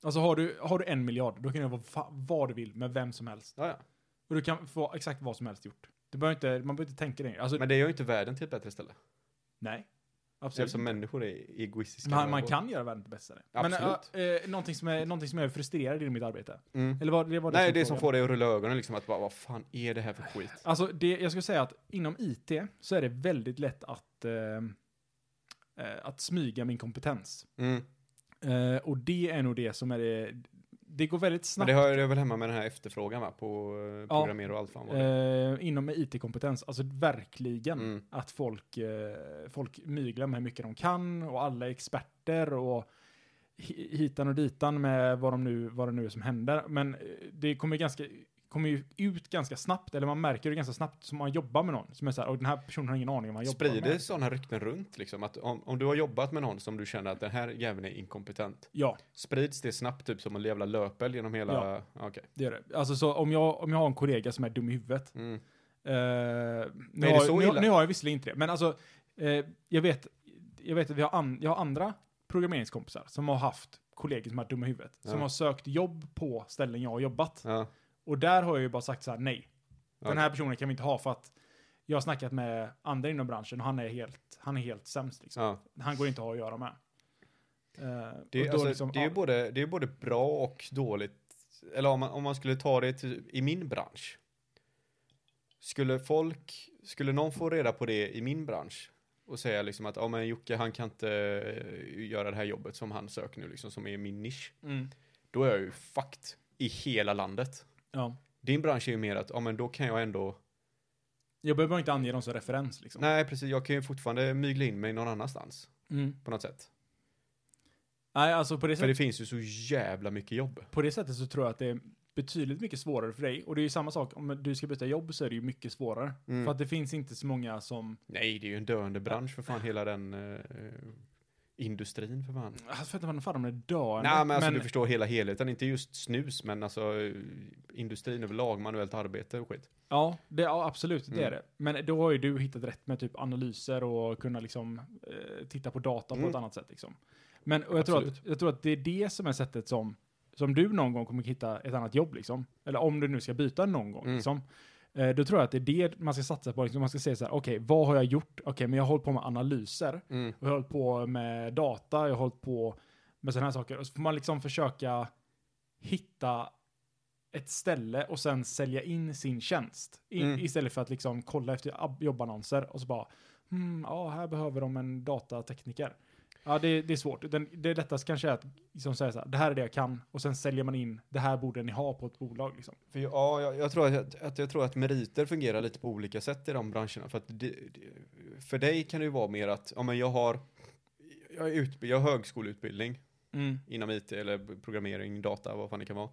S1: Alltså har du, har du en miljard, då kan du vara fa- vad du vill med vem som helst.
S3: Ja, ja.
S1: Och du kan få exakt vad som helst gjort. Du behöver inte, man behöver inte tänka längre. Alltså,
S3: Men det gör ju inte världen till ett bättre ställe.
S1: nej. Absolut.
S3: Eftersom människor är egoistiska.
S1: Mm. Man, man kan göra världen till bästa. Men
S3: Absolut.
S1: eh, eh, någonting, som är, någonting som är frustrerande i mitt arbete.
S3: Mm.
S1: Eller vad, det var det
S3: Nej, det som
S1: frågan.
S3: får dig att rulla ögonen liksom att bara, vad fan är det här för skit?
S1: Alltså, det, jag skulle säga att inom IT så är det väldigt lätt att, eh, eh, att smyga min kompetens.
S3: Mm.
S1: Eh, och det är nog det som är det, det går väldigt
S3: Men
S1: snabbt
S3: det har det är väl hemma med den här efterfrågan va? På eh,
S1: Ja.
S3: programmerare och allt fan vad det är.
S1: eh, inom IT-kompetens, alltså verkligen
S3: Mm.
S1: att folk, eh, folk myglar med hur mycket de kan och alla är experter och hi- hitan och ditan med vad, de nu, vad det nu är som händer. Men eh, det kommer ganska kommer ju ut ganska snabbt, eller man märker det ganska snabbt som man jobbar med någon. Som är så här, och den här personen har ingen aning om vad han jobbar
S3: Sprider
S1: med.
S3: sådana rykten runt liksom? Att om, om du har jobbat med någon som du känner att den här jäveln är inkompetent.
S1: Ja,
S3: Sprids det snabbt typ som en jävla löpeld genom hela... Ja. Okej.
S1: det gör det. Alltså så om jag, om jag har en kollega som är dum i huvudet,
S3: Mm.
S1: Eh, nu,
S3: är det
S1: har,
S3: så
S1: nu,
S3: illa?
S1: nu har jag visserligen inte det, men alltså, eh, jag, vet, jag vet att vi har an, jag har andra programmeringskompisar som har haft kollegor som har dumma i huvudet, som
S3: Ja.
S1: har sökt jobb på ställen jag har jobbat.
S3: Ja.
S1: Och där har jag ju bara sagt så här, nej,
S3: Okej.
S1: den här personen kan vi inte ha för att jag har snackat med andra inom branschen och han är helt, han är helt sämst. Liksom.
S3: ja.
S1: Han går inte att ha att göra med. Eh,
S3: Det,
S1: och
S3: är-
S1: då
S3: alltså,
S1: liksom,
S3: det, är
S1: ja,
S3: ju både, det är både bra och dåligt. Eller om man, om man skulle ta det till, i min bransch. Skulle folk, skulle någon få reda på det i min bransch och säga liksom att ja men Jocke han kan inte eh, göra det här jobbet som han söker nu liksom som är min nisch.
S1: mm,
S3: Då är jag ju fucked i hela landet.
S1: ja.
S3: Din bransch är ju mer att ja men då kan jag ändå,
S1: Jag behöver inte ange dem som referens. Liksom.
S3: nej precis jag kan ju fortfarande mygla in mig någon annanstans
S1: Mm.
S3: på något sätt.
S1: Nej, alltså på det sättet.
S3: För det finns ju så jävla mycket jobb.
S1: på det sättet så tror jag att det är betydligt mycket svårare för dig. Och det är ju samma sak, om du ska byta jobb så är det ju mycket svårare.
S3: Mm.
S1: För att det finns inte så många som...
S3: Nej, det är ju en döende bransch för fan hela den eh, Industrin för fan.
S1: Jag vet inte vad fan de är döende.
S3: Nej men alltså du förstår hela helheten, inte just snus men alltså eh, industrin överlag, manuellt arbete och skit.
S1: Ja, det, ja absolut, det är
S3: Mm.
S1: det. Men då har ju du hittat rätt med typ analyser och kunna liksom eh, titta på data på
S3: Mm.
S1: ett annat sätt liksom. Men och jag, tror att,
S3: Absolut.
S1: jag tror att det är det som är sättet som, som du någon gång kommer hitta ett annat jobb liksom. Eller om du nu ska byta någon gång
S3: Mm.
S1: liksom. Eh, då tror jag att det är det man ska satsa på. Liksom. Man ska säga så här, okej, vad har jag gjort? Okej, men jag har hållit på med analyser.
S3: Mm.
S1: Jag har hållit på med data, jag har hållit på med sådana här saker. Och så får man liksom försöka hitta ett ställe och sen sälja in sin tjänst. I,
S3: Mm.
S1: Istället för att liksom kolla efter ab- jobbannonser och så bara, hmm, ja, här behöver de en datatekniker. Ja, det, det är svårt. Utan det lättaste kanske är att liksom säga så här, det här är det jag kan. Och sen säljer man in, det här borde ni ha på ett bolag liksom.
S3: För jag- ja, jag, jag, tror att, att, jag tror att meriter fungerar lite på olika sätt i de branscherna. För, att det, det- för dig kan det ju vara mer att, ja men jag har, jag, är utb- jag har högskoleutbildning inom IT eller programmering, data, vad fan det kan vara.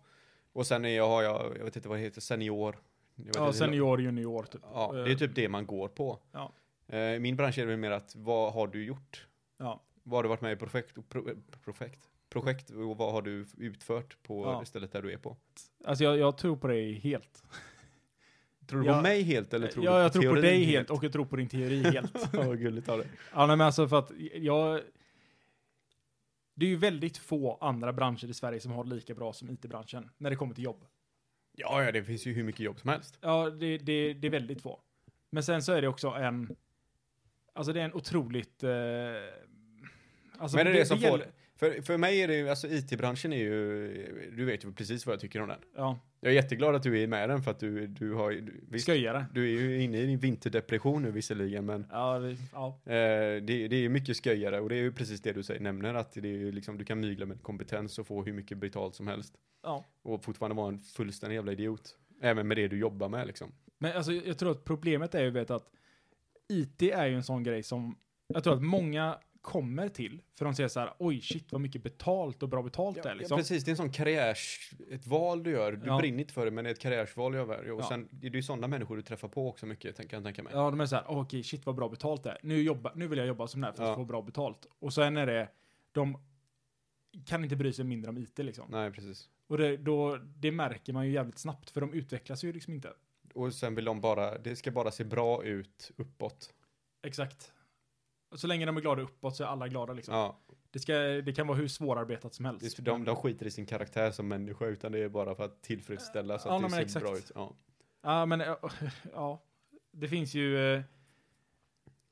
S3: Och sen är jag, har jag, jag vet inte vad det heter, senior. Jag vet
S1: Ja,
S3: inte hur-
S1: senior, junior typ.
S3: Ja, det är typ det man går på.
S1: Ja.
S3: Eh, I min bransch är det väl mer att, vad har du gjort?
S1: Ja.
S3: Vad har du varit med i projekt, och pro, projekt, projekt och vad har du utfört på
S1: Ja.
S3: stället där du är på?
S1: Alltså jag, jag tror på dig helt.
S3: Tror du
S1: Ja.
S3: på mig helt eller tror
S1: Eh, ja,
S3: du
S1: jag tror på
S3: teorin
S1: dig helt och jag tror på din teori helt.
S3: Ja, vad gulligt av dig.
S1: ja, nej, men alltså för att jag... Det är ju väldigt få andra branscher i Sverige som har lika bra som IT-branschen när det kommer till jobb.
S3: Ja, ja, det finns ju hur mycket jobb som helst.
S1: Ja, det, det, det är väldigt få. Men sen så är det också en... Alltså det är en otroligt... Eh, alltså
S3: Men det är det, som
S1: gäller-
S3: får... För, för mig är det ju, alltså IT-branschen är ju, du vet ju precis vad jag tycker om den.
S1: Ja,
S3: Jag är jätteglad att du är med i den för att du, du har ju- du, visst,
S1: sköjare.
S3: du är ju inne i din vinterdepression nu visserligen men
S1: Ja, det, ja.
S3: eh, det, det är ju mycket sköjare och det är ju precis det du säger, nämner att det är ju liksom, du kan mygla med kompetens och få hur mycket betalt som helst
S1: ja.
S3: och fortfarande vara en fullständig jävla idiot. Även med det du jobbar med liksom.
S1: Men alltså, jag tror att problemet är ju vet, att IT är ju en sån grej som jag tror att många kommer till för de säger så här oj shit vad mycket betalt och bra betalt det är liksom.
S3: precis, det är en sån karriärs, ett val du gör. Du
S1: Ja.
S3: brinner inte för det, men det är ett karriärsval du gör. Och
S1: Ja.
S3: sen, det är ju sådana människor du träffar på också mycket, tänk- kan jag tänka mig.
S1: Ja, de är så här "Åh, okej shit vad bra betalt det är. Nu, jobba, nu vill jag jobba som det här för att
S3: Ja.
S1: få bra betalt. Och sen är det, de kan inte bry sig mindre om IT liksom.
S3: Nej, precis.
S1: Och det, då, det märker man ju jävligt snabbt för de utvecklas ju liksom inte.
S3: Och sen vill de bara, det ska bara se bra ut uppåt.
S1: Exakt. Och Så länge de är glada uppåt så är alla glada liksom.
S3: Ja,
S1: Det, ska, det kan vara hur svårarbetat som
S3: det är
S1: helst.
S3: för de, de skiter i sin karaktär som människa, utan det är bara för att tillfredsställa så
S1: Ja,
S3: att
S1: nej,
S3: det ser
S1: men exakt.
S3: bra ut. Ja.
S1: Ja, men eh, ja. Det finns ju eh,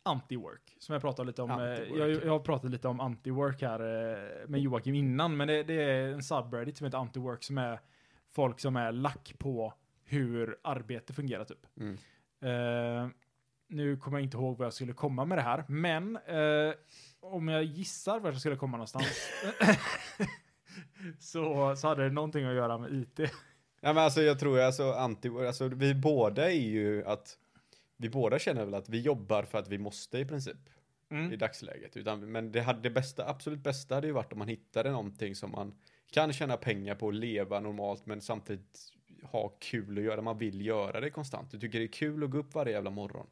S1: anti-work, som jag pratade lite om. eh,
S3: Anti-work,
S1: jag,
S3: ja.
S1: jag har pratat lite om anti-work här eh, med Joakim innan, men det, det är en subreddit som heter anti-work som är folk som är lack på hur arbete fungerar typ.
S3: Mm.
S1: Eh, nu kommer jag inte ihåg vad jag skulle komma med det här, men eh, om jag gissar vart jag skulle komma någonstans så, så hade det någonting att göra med IT.
S3: Ja, men alltså jag tror ju, alltså, anti, alltså vi båda är ju att, vi båda känner väl att vi jobbar för att vi måste i princip.
S1: Mm.
S3: i dagsläget. Utan, men det, hade, det bästa, absolut bästa hade ju varit om man hittade någonting som man kan tjäna pengar på och leva normalt men samtidigt ha kul och göra. Man vill göra det konstant. Du tycker det är kul att gå upp varje jävla morgon.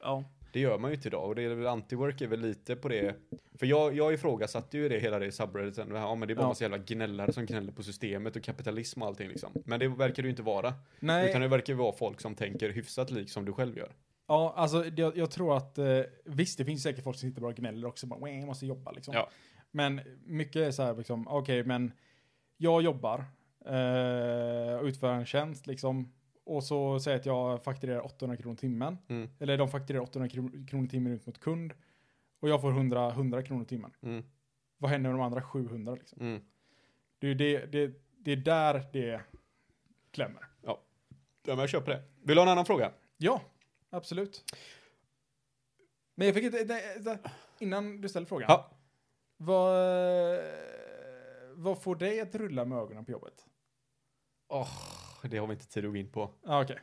S1: Ja.
S3: Det gör man ju inte idag och det är väl anti-work är väl lite på det. För jag, jag ifrågasatte ju det hela det i subredditen. Det här, Ja men det är bara
S1: Ja.
S3: en massa jävla gnällare som gnäller på systemet och kapitalism och allting liksom. Men det verkar det ju inte vara.
S1: Nej,
S3: Utan det verkar ju vara folk som tänker hyfsat lik som du själv gör.
S1: Ja, alltså det- jag, jag tror att eh, visst, det finns säkert folk som sitter bara och gnäller också. Bara, "Wah, jag måste jobba liksom.
S3: Ja.
S1: Men mycket är så här liksom, okej, men jag jobbar eh, och utför en tjänst liksom. Och så säger jag att jag fakturerar 800 kronor timmen.
S3: Mm.
S1: Eller de fakturerar 800 kro- kronor timmen ut mot kund. Och jag får 100, 100 kronor timmen.
S3: Mm.
S1: Vad händer med de andra 700 liksom?
S3: Mm.
S1: Det är ju det, det, det är där det klämmer.
S3: Ja men jag köper det. Vill du ha en annan fråga?
S1: Ja, absolut. Men jag fick inte, nej, nej, innan du ställer frågan.
S3: Ja.
S1: Vad, vad får dig att rulla med ögonen på jobbet?
S3: Det har vi inte tid att gå in på.
S1: Ja, okej.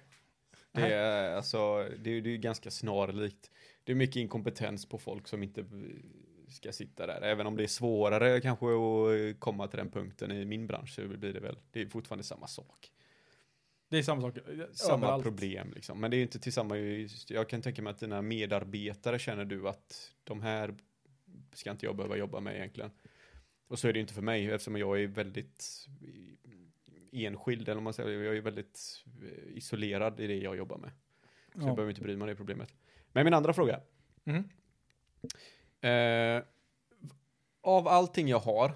S1: Nej.
S3: Det är, alltså, det, är- det är ju ganska snarlikt. Det är mycket inkompetens på folk som inte eh, ska sitta där. Även om det är svårare kanske att eh, komma till den punkten i min bransch så blir det väl, det är fortfarande samma sak.
S1: Det är samma sak.
S3: Samma
S1: överallt.
S3: problem liksom. Men det är ju inte till samma, jag kan tänka mig att dina medarbetare känner du att de här ska inte jag behöva jobba med egentligen. Och så är det ju inte för mig eftersom jag är väldigt enskild eller om man säger, jag är väldigt eh, isolerad i det jag jobbar med. Så jag
S1: Ja.
S3: behöver inte bry mig om det problemet. Men min andra fråga.
S1: Mm.
S3: Eh, av allting jag har,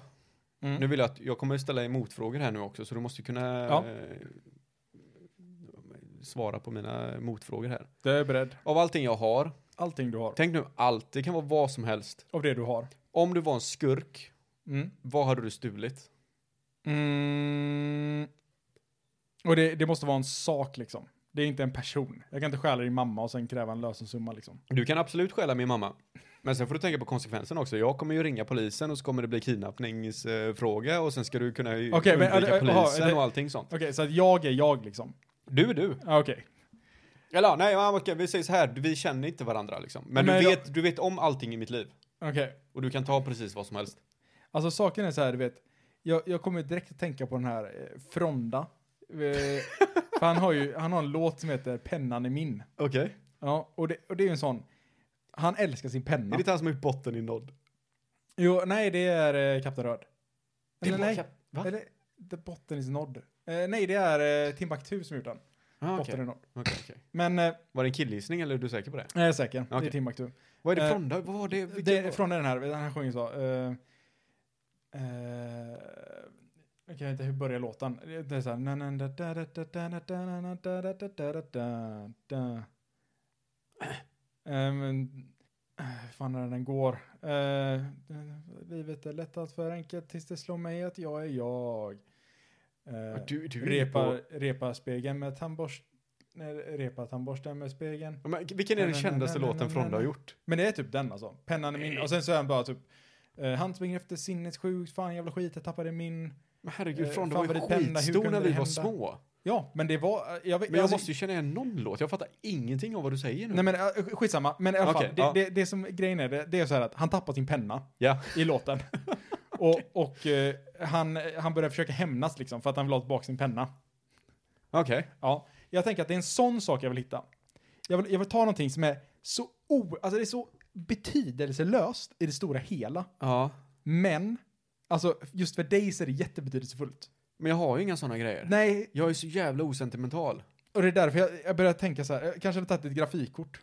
S1: Mm.
S3: nu vill jag att jag kommer ställa motfrågor här nu också så du måste kunna
S1: Ja.
S3: eh, svara på mina motfrågor här.
S1: Jag är beredd.
S3: Av allting jag har,
S1: Allting du har.
S3: tänk nu allt, det kan vara vad som helst.
S1: Av det du har.
S3: Om du var en skurk,
S1: Mm.
S3: vad hade du stulit?
S1: Mm. Och det, det måste vara en sak liksom. Det är inte en person. Jag kan inte stjäla din mamma och sen kräva en lösensumma liksom.
S3: Du kan absolut stjäla min mamma. Men sen får du tänka på konsekvensen också. Jag kommer ju ringa polisen och så kommer det bli kidnappningsfråga och sen ska du kunna ju
S1: Okej, men-
S3: undvika
S1: eller,
S3: polisen
S1: aha, det-
S3: och allting sånt.
S1: Okej, så att jag är jag liksom.
S3: Du är du.
S1: Ja, Okej.
S3: Eller ja, nej, ja, okej, vi säger så här, vi känner inte varandra liksom. Men,
S1: Men
S3: du,
S1: jag-
S3: vet, du vet om allting i mitt liv.
S1: Okej.
S3: Och du kan ta precis vad som helst.
S1: Alltså saken är så här, du vet. Jag, jag kommer direkt att tänka på den här eh, Fronda. Eh, för han har ju, han har en låt som heter Pennan är min.
S3: Okej.
S1: Ja, och det, och det är ju en sån. Han älskar sin penna.
S3: Är det inte han som har gjort botten i Nod?
S1: Jo, nej det är eh, Kapten Röd.
S3: Det
S1: Eller
S3: var
S1: nej.
S3: Kap- va?
S1: Eller The Botten is Nod. Eh, nej, det är eh, Timbuktu som gjort den.
S3: Ah,
S1: Botten
S3: okej.
S1: är Nod.
S3: Okej, okej.
S1: Men, eh,
S3: Var det en killgissning eller är du säker på det?
S1: jag är säker. Det är
S3: Okej.
S1: Timbuktu.
S3: Vad är det
S1: Eh,
S3: från då? Vad var det? Vilken
S1: Det är
S3: var-
S1: från den här, den här sjunger så. eh, eh, jag kan inte hur börjar låten. Det är så här. na, na, da, da, da, da, da, da, da, na, na, da, da, da, da, da, da, da. Eh, men, eh, hur fan är det den går? Eh, livet är lätt allt för enkelt tills det slår mig att jag är jag. Eh,
S3: Ja, Du, du är inne på...
S1: repa, repa spegeln med tandborst. nej, Repa tandborsten med spegeln.
S3: Ja, men Vilken är den
S1: Nej, nej,
S3: kändaste
S1: nej, nej,
S3: låten
S1: nej,
S3: Fronda har
S1: nej.
S3: gjort?
S1: Men det är typ den alltså. Pennan är min. Och sen så är han bara typ. Eh, han springer efter sinnessjukt. Fan jävla skit. Jag tappade min.
S3: Men herregud,
S1: Eh,
S3: Fronda
S1: fan,
S3: var ju
S1: vad det tända, hur
S3: skitstor
S1: kunde
S3: när vi
S1: det hända?
S3: var små.
S1: Ja, men det var. Jag vet,
S3: Men jag
S1: alltså,
S3: måste ju känna igen någon låt. Jag fattar ingenting av vad du säger nu.
S1: Nej men eh, skitsamma. Men i alla fall.
S3: Okej,
S1: det,
S3: ja.
S1: det, det som grejen är. Det, det är så här att han tappar sin penna.
S3: Ja.
S1: I låten. och och eh, han, han börjar försöka hämnas liksom. För att han vill ha tillbaka sin penna.
S3: Okej.
S1: Ja. Jag tänker att det är en sån sak jag vill hitta. Jag vill, jag vill ta någonting som är så o... Alltså det är så betydelselöst i det stora hela.
S3: Ja.
S1: Men. Alltså just för dig så är det jättebetydelsefullt.
S3: Men jag har ju inga sådana grejer.
S1: Nej,
S3: Jag är så jävla osentimental.
S1: och det är därför jag, jag börjar tänka så här. Jag kanske hade tagit ett grafikkort.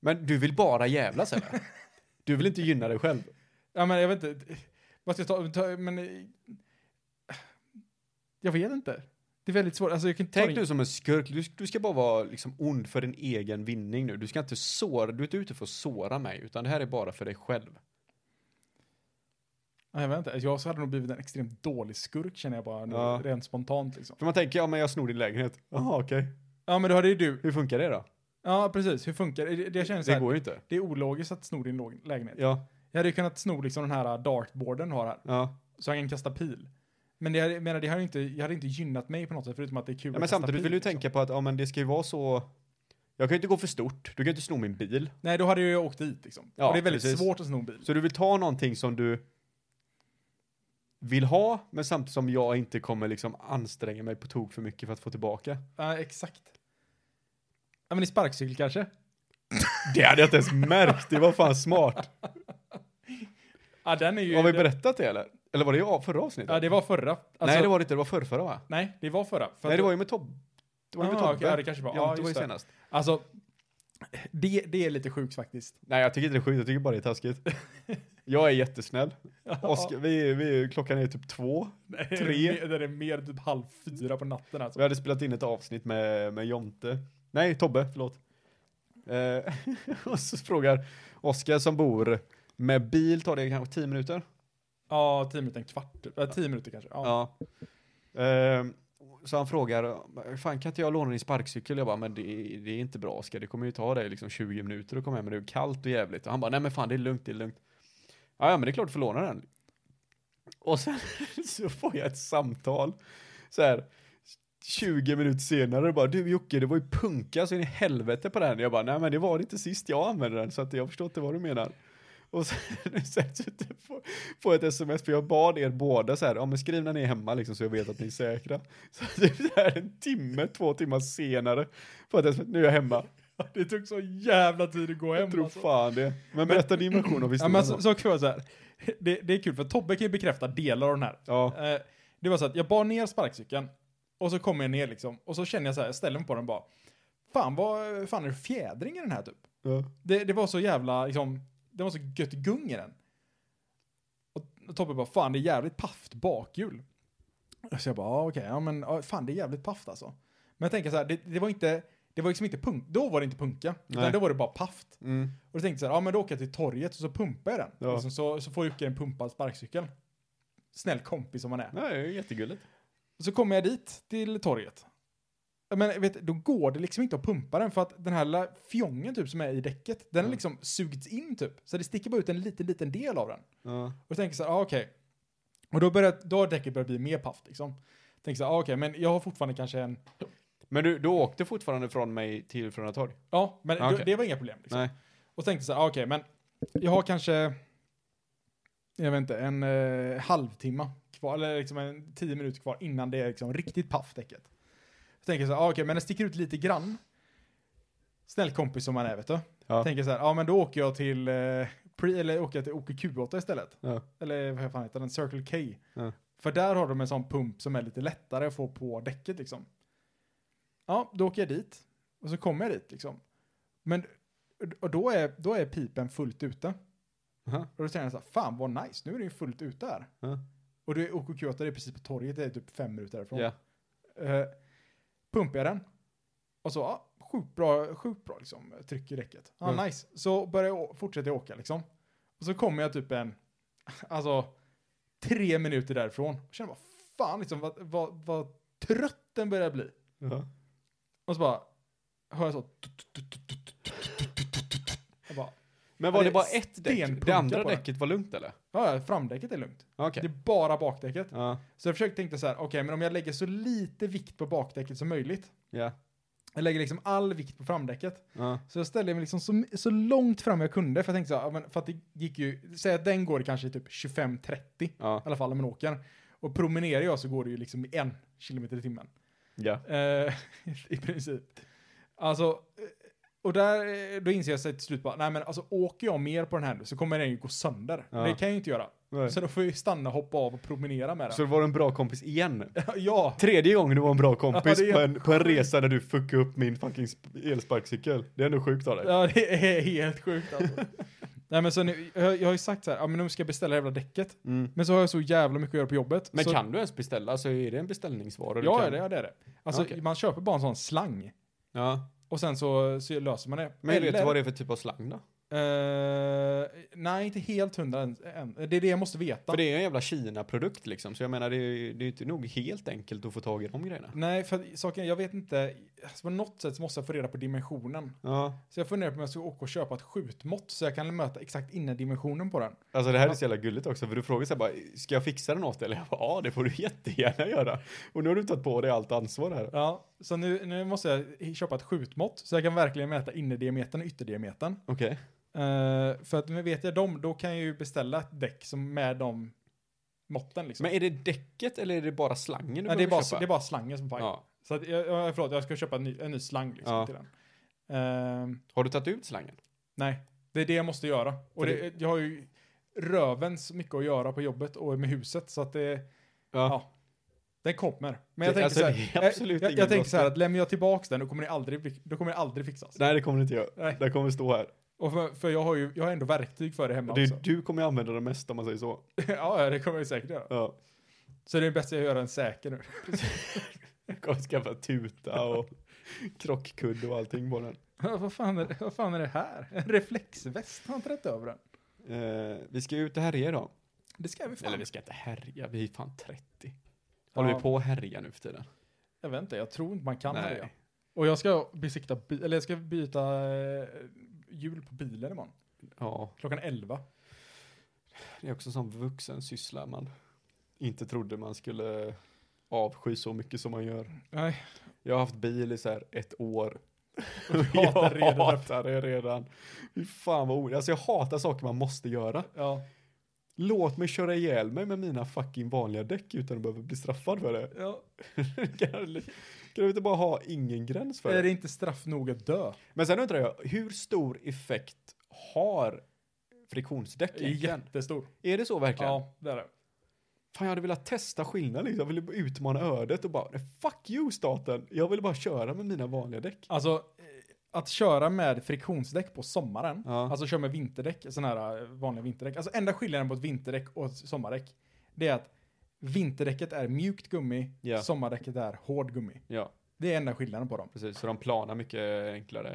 S3: Men du vill bara jävlas eller? Du vill inte gynna dig själv.
S1: Ja, men jag vet inte. Vad ska jag ta? ta men... eh, Jag vet inte. Det är väldigt svårt. Alltså, jag kan inte
S3: Tänk
S1: ta
S3: nu
S1: det.
S3: som en skurk. Du, du ska bara vara liksom ond för din egen vinning nu. Du ska inte såra, du är inte ute för att såra mig, utan det här är bara för dig själv.
S1: Nej, Jag vet inte. Jag hade nog blivit en extremt dålig skurk känner jag bara. nu,
S3: Ja.
S1: Rent spontant liksom.
S3: För man tänker, ja men jag snor din lägenhet. Jaha, okej.
S1: Ja, men då hade ju du.
S3: Hur funkar det då?
S1: Ja, precis. Hur funkar det? Det- Det känns så
S3: Det
S1: här.
S3: går ju inte.
S1: Det är ologiskt att sno din låg- lägenhet.
S3: Ja,
S1: Jag hade ju kunnat sno liksom den här dartboarden du har här.
S3: ja.
S1: Så jag kan kasta pil. Men det, jag menar, det hade ju inte, jag hade inte gynnat mig på något sätt förutom att liksom. det är kul
S3: ja men samtidigt vill du tänka på att, ja men det ska ju vara så... Jag kan ju inte gå för stort. Du kan ju inte sno min bil.
S1: Nej, då hade jag ju åkt dit liksom.
S3: Ja,
S1: och det är väldigt
S3: precis.
S1: svårt att sno en bil.
S3: Så du vill ta någonting som du vill ha, men samtidigt som jag inte kommer liksom anstränga mig på tok för mycket för att få tillbaka.
S1: Ja, exakt. Ja, men i sparkcykel kanske?
S3: Det hade jag inte ens märkt, det var fan smart.
S1: Ja, den är ju...
S3: Har vi
S1: det-
S3: berättat det eller? Eller var det jag förra avsnittet?
S1: Ja, det var förra. Alltså-
S3: Nej det var det inte, det var förrförra va?
S1: Nej, det var förra. För
S3: Nej
S1: att-
S3: det var ju med Tobbe. Det var ju med
S1: Ah,
S3: Tobbe.
S1: okej, ja, det kanske var. Ja,
S3: Ja, det var ju
S1: just det.
S3: senast.
S1: Alltså, det, det är lite sjukt faktiskt.
S3: Nej jag tycker inte det är sjukt, jag tycker bara det är taskigt. Jag är jättesnäll. Oskar, vi, vi, klockan är typ två. tre.
S1: Det är, mer- det är mer typ halv fyra på natten alltså.
S3: Vi hade spelat in ett avsnitt med, med Jonte. Nej, Tobbe, förlåt. Eh, och så frågar Oskar som bor med bil, tar det kanske 10 minuter?
S1: Ja, tio minuter, en kvart. typ. Ja, tio minuter kanske. Ja.
S3: Eh, så han frågar, fan kan inte jag låna din sparkcykel? Jag bara, men det, det är inte bra Oskar, det kommer ju ta dig liksom 20 minuter att komma hem, men det är kallt och jävligt. Och han bara, nej men fan det är lugnt, det är lugnt. Ja, ja men det är klart du får låna den. Och sen så får jag ett samtal, så här, 20 minuter senare bara, du Jocke, det var ju punka så in i helvete på den. Jag bara, nej men det var det inte sist jag använde den, så att jag förstår inte vad du menar. Och sen, sen så typ får- får jag ett sms, för jag bad er båda så här, ja men skriv när ni är hemma liksom så jag vet att ni är säkra. Så typ så här en timme, två timmar senare, får jag ett sms, nu är jag hemma.
S1: Det tog så jävla tid att gå hem.
S3: Jag tror
S1: alltså.
S3: fan det. Men berätta din version av
S1: Ja,
S3: historien.
S1: men alltså,
S3: då.
S1: så, så kan jag säga så här. Det, det är kul för Tobbe kan ju bekräfta delar av den här.
S3: ja.
S1: Eh, Det var så att jag bar ner sparkcykeln och så kommer jag ner liksom och så känner jag så här, jag ställer mig på den och bara. Fan vad fan är det fjädring i den här typ?
S3: Ja.
S1: Det, det var så jävla liksom, det var så gött gung i den. Och, och Tobbe bara, fan det är jävligt pafft bakhjul. Så jag bara, ah, okej, ja men ja, fan det är jävligt pafft alltså. Men jag tänker så här, det, det var inte, det var liksom inte punk, då var det inte punka, utan
S3: Nej.
S1: då var det bara pafft.
S3: Mm.
S1: Och då tänkte jag så här, ja men då åker jag till torget och så pumpar jag den.
S3: Ja.
S1: Och sen så, så får Jocke en pumpad sparkcykel. Snäll kompis som han är.
S3: Nej, det är jättegulligt.
S1: Så kommer jag dit till torget. Men vet, du, då går det liksom inte att pumpa den för att den här lilla fjongen typ som är i däcket, den har
S3: Mm.
S1: liksom sugits in typ. Så det sticker bara ut en liten, liten del av den.
S3: Ja.
S1: Och jag tänker så här, ah, okej. Och då, börjar, då har däcket börjat bli mer paft liksom. Tänker så här, ah, okej, men jag har fortfarande kanske en,
S3: Men du, du åkte fortfarande från mig till Frölunda Torg?
S1: ja, men
S3: Ja,
S1: då-
S3: Ah, okej.
S1: det var inga problem. Liksom.
S3: Nej.
S1: Och tänkte så här, ah, okej, men jag har kanske, jag vet inte, en eh, halvtimme kvar, eller liksom en tio minuter kvar innan det är liksom riktigt paff däcket. Jag tänker så här, ah, okej, men det sticker ut lite grann. Snäll kompis som man är, vet du.
S3: Ja.
S1: Tänker så här, ja ah, men då åker jag till, eh, pre, eller åker jag till OKQ8 istället.
S3: Ja.
S1: Eller vad fan heter den, Circle K.
S3: Ja.
S1: För där har de en sån pump som är lite lättare att få på däcket liksom. Ja, då åker jag dit. Och så kommer jag dit liksom. Men och då är, då är pipen fullt ute.
S3: Aha.
S1: Och då känner jag så här, fan vad nice, nu är det ju fullt ute här.
S3: Ja.
S1: Och det är OKQ8, det är precis på torget, det är typ fem minuter därifrån.
S3: Ja.
S1: Eh, pumpar jag den. Och så, ja, sjukt bra, sjukt bra liksom, tryck i däcket. Ja,
S3: Mm.
S1: nice. Så börjar jag, å- fortsätter jag åka liksom. Och så kommer jag typ en, alltså, tre minuter därifrån. Och känner bara, fan liksom, vad, vad, vad trött den börjar bli.
S3: Ja.
S1: Och så bara, hör jag så. Jag bara,
S3: Men var
S1: Det
S3: det
S1: är
S3: bara ett däck? Det
S1: stenpunka
S3: andra
S1: på den.
S3: däcket var lugnt eller?
S1: ja, ja, framdäcket är lugnt.
S3: Okej.
S1: Det är bara bakdäcket.
S3: Ja.
S1: Så jag försökte tänka så här, okej, men om jag lägger så lite vikt på bakdäcket som möjligt.
S3: Ja.
S1: Jag lägger liksom all vikt på framdäcket.
S3: Ja.
S1: Så jag ställde mig liksom så, så långt fram jag kunde. För jag tänkte så här, ja, men för att det gick ju, säg att den går kanske typ 25-30. I
S3: Ja.
S1: alla fall om man åker. Och promenerar jag så går det ju liksom i en kilometer i timmen.
S3: Ja.
S1: Eh, I princip. Alltså, eh, och där, eh, då inser jag sig till slut bara, nej men alltså åker jag mer på den här nu så kommer den ju gå sönder.
S3: Ja.
S1: Det kan jag ju inte göra. Så då får jag ju stanna, hoppa av och promenera med den.
S3: Så det var en bra kompis igen?
S1: ja,
S3: Tredje gången du var en bra kompis
S1: Ja, det är-
S3: på, en, på en resa där du fuckade upp min fucking sp- elsparkcykel. Det är ändå sjukt av dig.
S1: ja, det är helt sjukt alltså. nej men så nu, jag, jag har ju sagt så här, ja men nu ska jag beställa det jävla däcket.
S3: Mm.
S1: Men så har jag så jävla mycket att göra på jobbet.
S3: Men
S1: så,
S3: kan du ens beställa? Så är det en beställningsvara? du
S1: Ja,
S3: kan...
S1: det, ja, det är det. Alltså
S3: Okej.
S1: man köper bara en sån slang.
S3: Ja.
S1: Och sen så, så löser man det.
S3: Men vet du
S1: Eller-
S3: vad det är för typ av slang då?
S1: Eh, nej, inte helt hundra än, än. Det är det jag måste veta.
S3: För det är en jävla Kina-produkt liksom. Så jag menar, det är, det är inte nog helt enkelt att få tag i de grejerna.
S1: Nej, för att saken, jag vet inte. Alltså på något sätt så måste jag få reda på dimensionen.
S3: Ja.
S1: Så jag funderar på om jag ska åka och köpa ett skjutmått så jag kan möta exakt innandimensionen på den.
S3: Alltså det här är så jävla gulligt också. För du frågar så här bara, ska jag fixa den åt dig? Eller jag bara, ja det får du jättegärna göra. Och nu har du tagit på dig allt ansvar här.
S1: Ja, så nu, nu måste jag köpa ett skjutmått så jag kan verkligen mäta innerdiametern och ytterdiametern.
S3: Okej.
S1: Eh, för att nu vet jag dem, då kan jag ju beställa ett däck som med de måtten liksom.
S3: Men är det däcket eller är det bara slangen
S1: Nej,
S3: du
S1: det, är
S3: behöver
S1: bara,
S3: köpa?
S1: det är bara slangen som är paj.
S3: ja.
S1: Så att, jag, jag, förlåt, jag ska köpa en ny, en ny slang liksom
S3: Ja.
S1: till den. Ehm,
S3: Har du tagit ut slangen?
S1: Nej, det är det jag måste göra. Och
S3: För
S1: det, jag har ju rövens mycket att göra på jobbet och med huset så att det, Ja. den kommer. Men jag
S3: Det-
S1: tänker
S3: alltså,
S1: så här, eh,
S3: det är absolut
S1: jag, jag,
S3: ingen
S1: jag tänker så här
S3: brådska.
S1: att lämnar jag tillbaks den då kommer det aldrig, bli- då kommer det aldrig fixas.
S3: Nej det kommer du inte göra.
S1: Nej.
S3: Den kommer stå här.
S1: Och för, för jag har ju, jag har ändå verktyg för det hemma
S3: Du,
S1: också.
S3: du kommer ju använda den mest om man säger så.
S1: ja, ja, det kommer jag ju säkert göra.
S3: Ja.
S1: Så det är bäst att jag gör den säker nu.
S3: Jag kommer skaffa tuta och krockkudde och allting på den.
S1: vad, fan är, det- vad fan är det här? En reflexväst har han trätt över den.
S3: Eh, vi ska ju ut och härja idag.
S1: Det ska vi fan.
S3: Eller vi ska inte härja, vi är fan 30. Håller
S1: Ja.
S3: vi på att härja nu för tiden?
S1: Jag vet inte, jag tror inte man kan
S3: Nej.
S1: det. Och jag ska besikta, bi- eller jag ska byta eh, hjul på bilen imorgon.
S3: Ja,
S1: Klockan 11.
S3: det är också som vuxen syssla man inte trodde man skulle avsky så mycket som man gör.
S1: Nej,
S3: Jag har haft bil i så här ett år.
S1: du hatar det
S3: jag
S1: redan.
S3: hatar det redan. Fy fan vad orätt. Alltså jag hatar saker man måste göra.
S1: Ja.
S3: Låt mig köra ihjäl mig med mina fucking vanliga däck utan att behöva bli straffad för det.
S1: ja.
S3: Kan de inte bara ha ingen gräns för
S1: Är
S3: det?
S1: det inte straff nog att dö?
S3: Men sen undrar jag, hur stor effekt har friktionsdäck egentligen?
S1: Jättestor.
S3: Är det så verkligen?
S1: Ja, det är det.
S3: Fan, jag hade velat testa skillnaden liksom. Jag ville bara utmana ödet och bara, "Nej, fuck you staten. Jag ville bara köra med mina vanliga däck.
S1: Alltså, eh, att köra med friktionsdäck på sommaren,
S3: Ja.
S1: alltså köra med vinterdäck, sådana här eh, vanliga vinterdäck. Alltså enda skillnaden på ett vinterdäck och ett sommardäck, det är att vinterdäcket är mjukt gummi,
S3: Ja.
S1: sommardäcket är hård gummi.
S3: Ja,
S1: Det är enda skillnaden på dem.
S3: precis. Så de planar mycket enklare.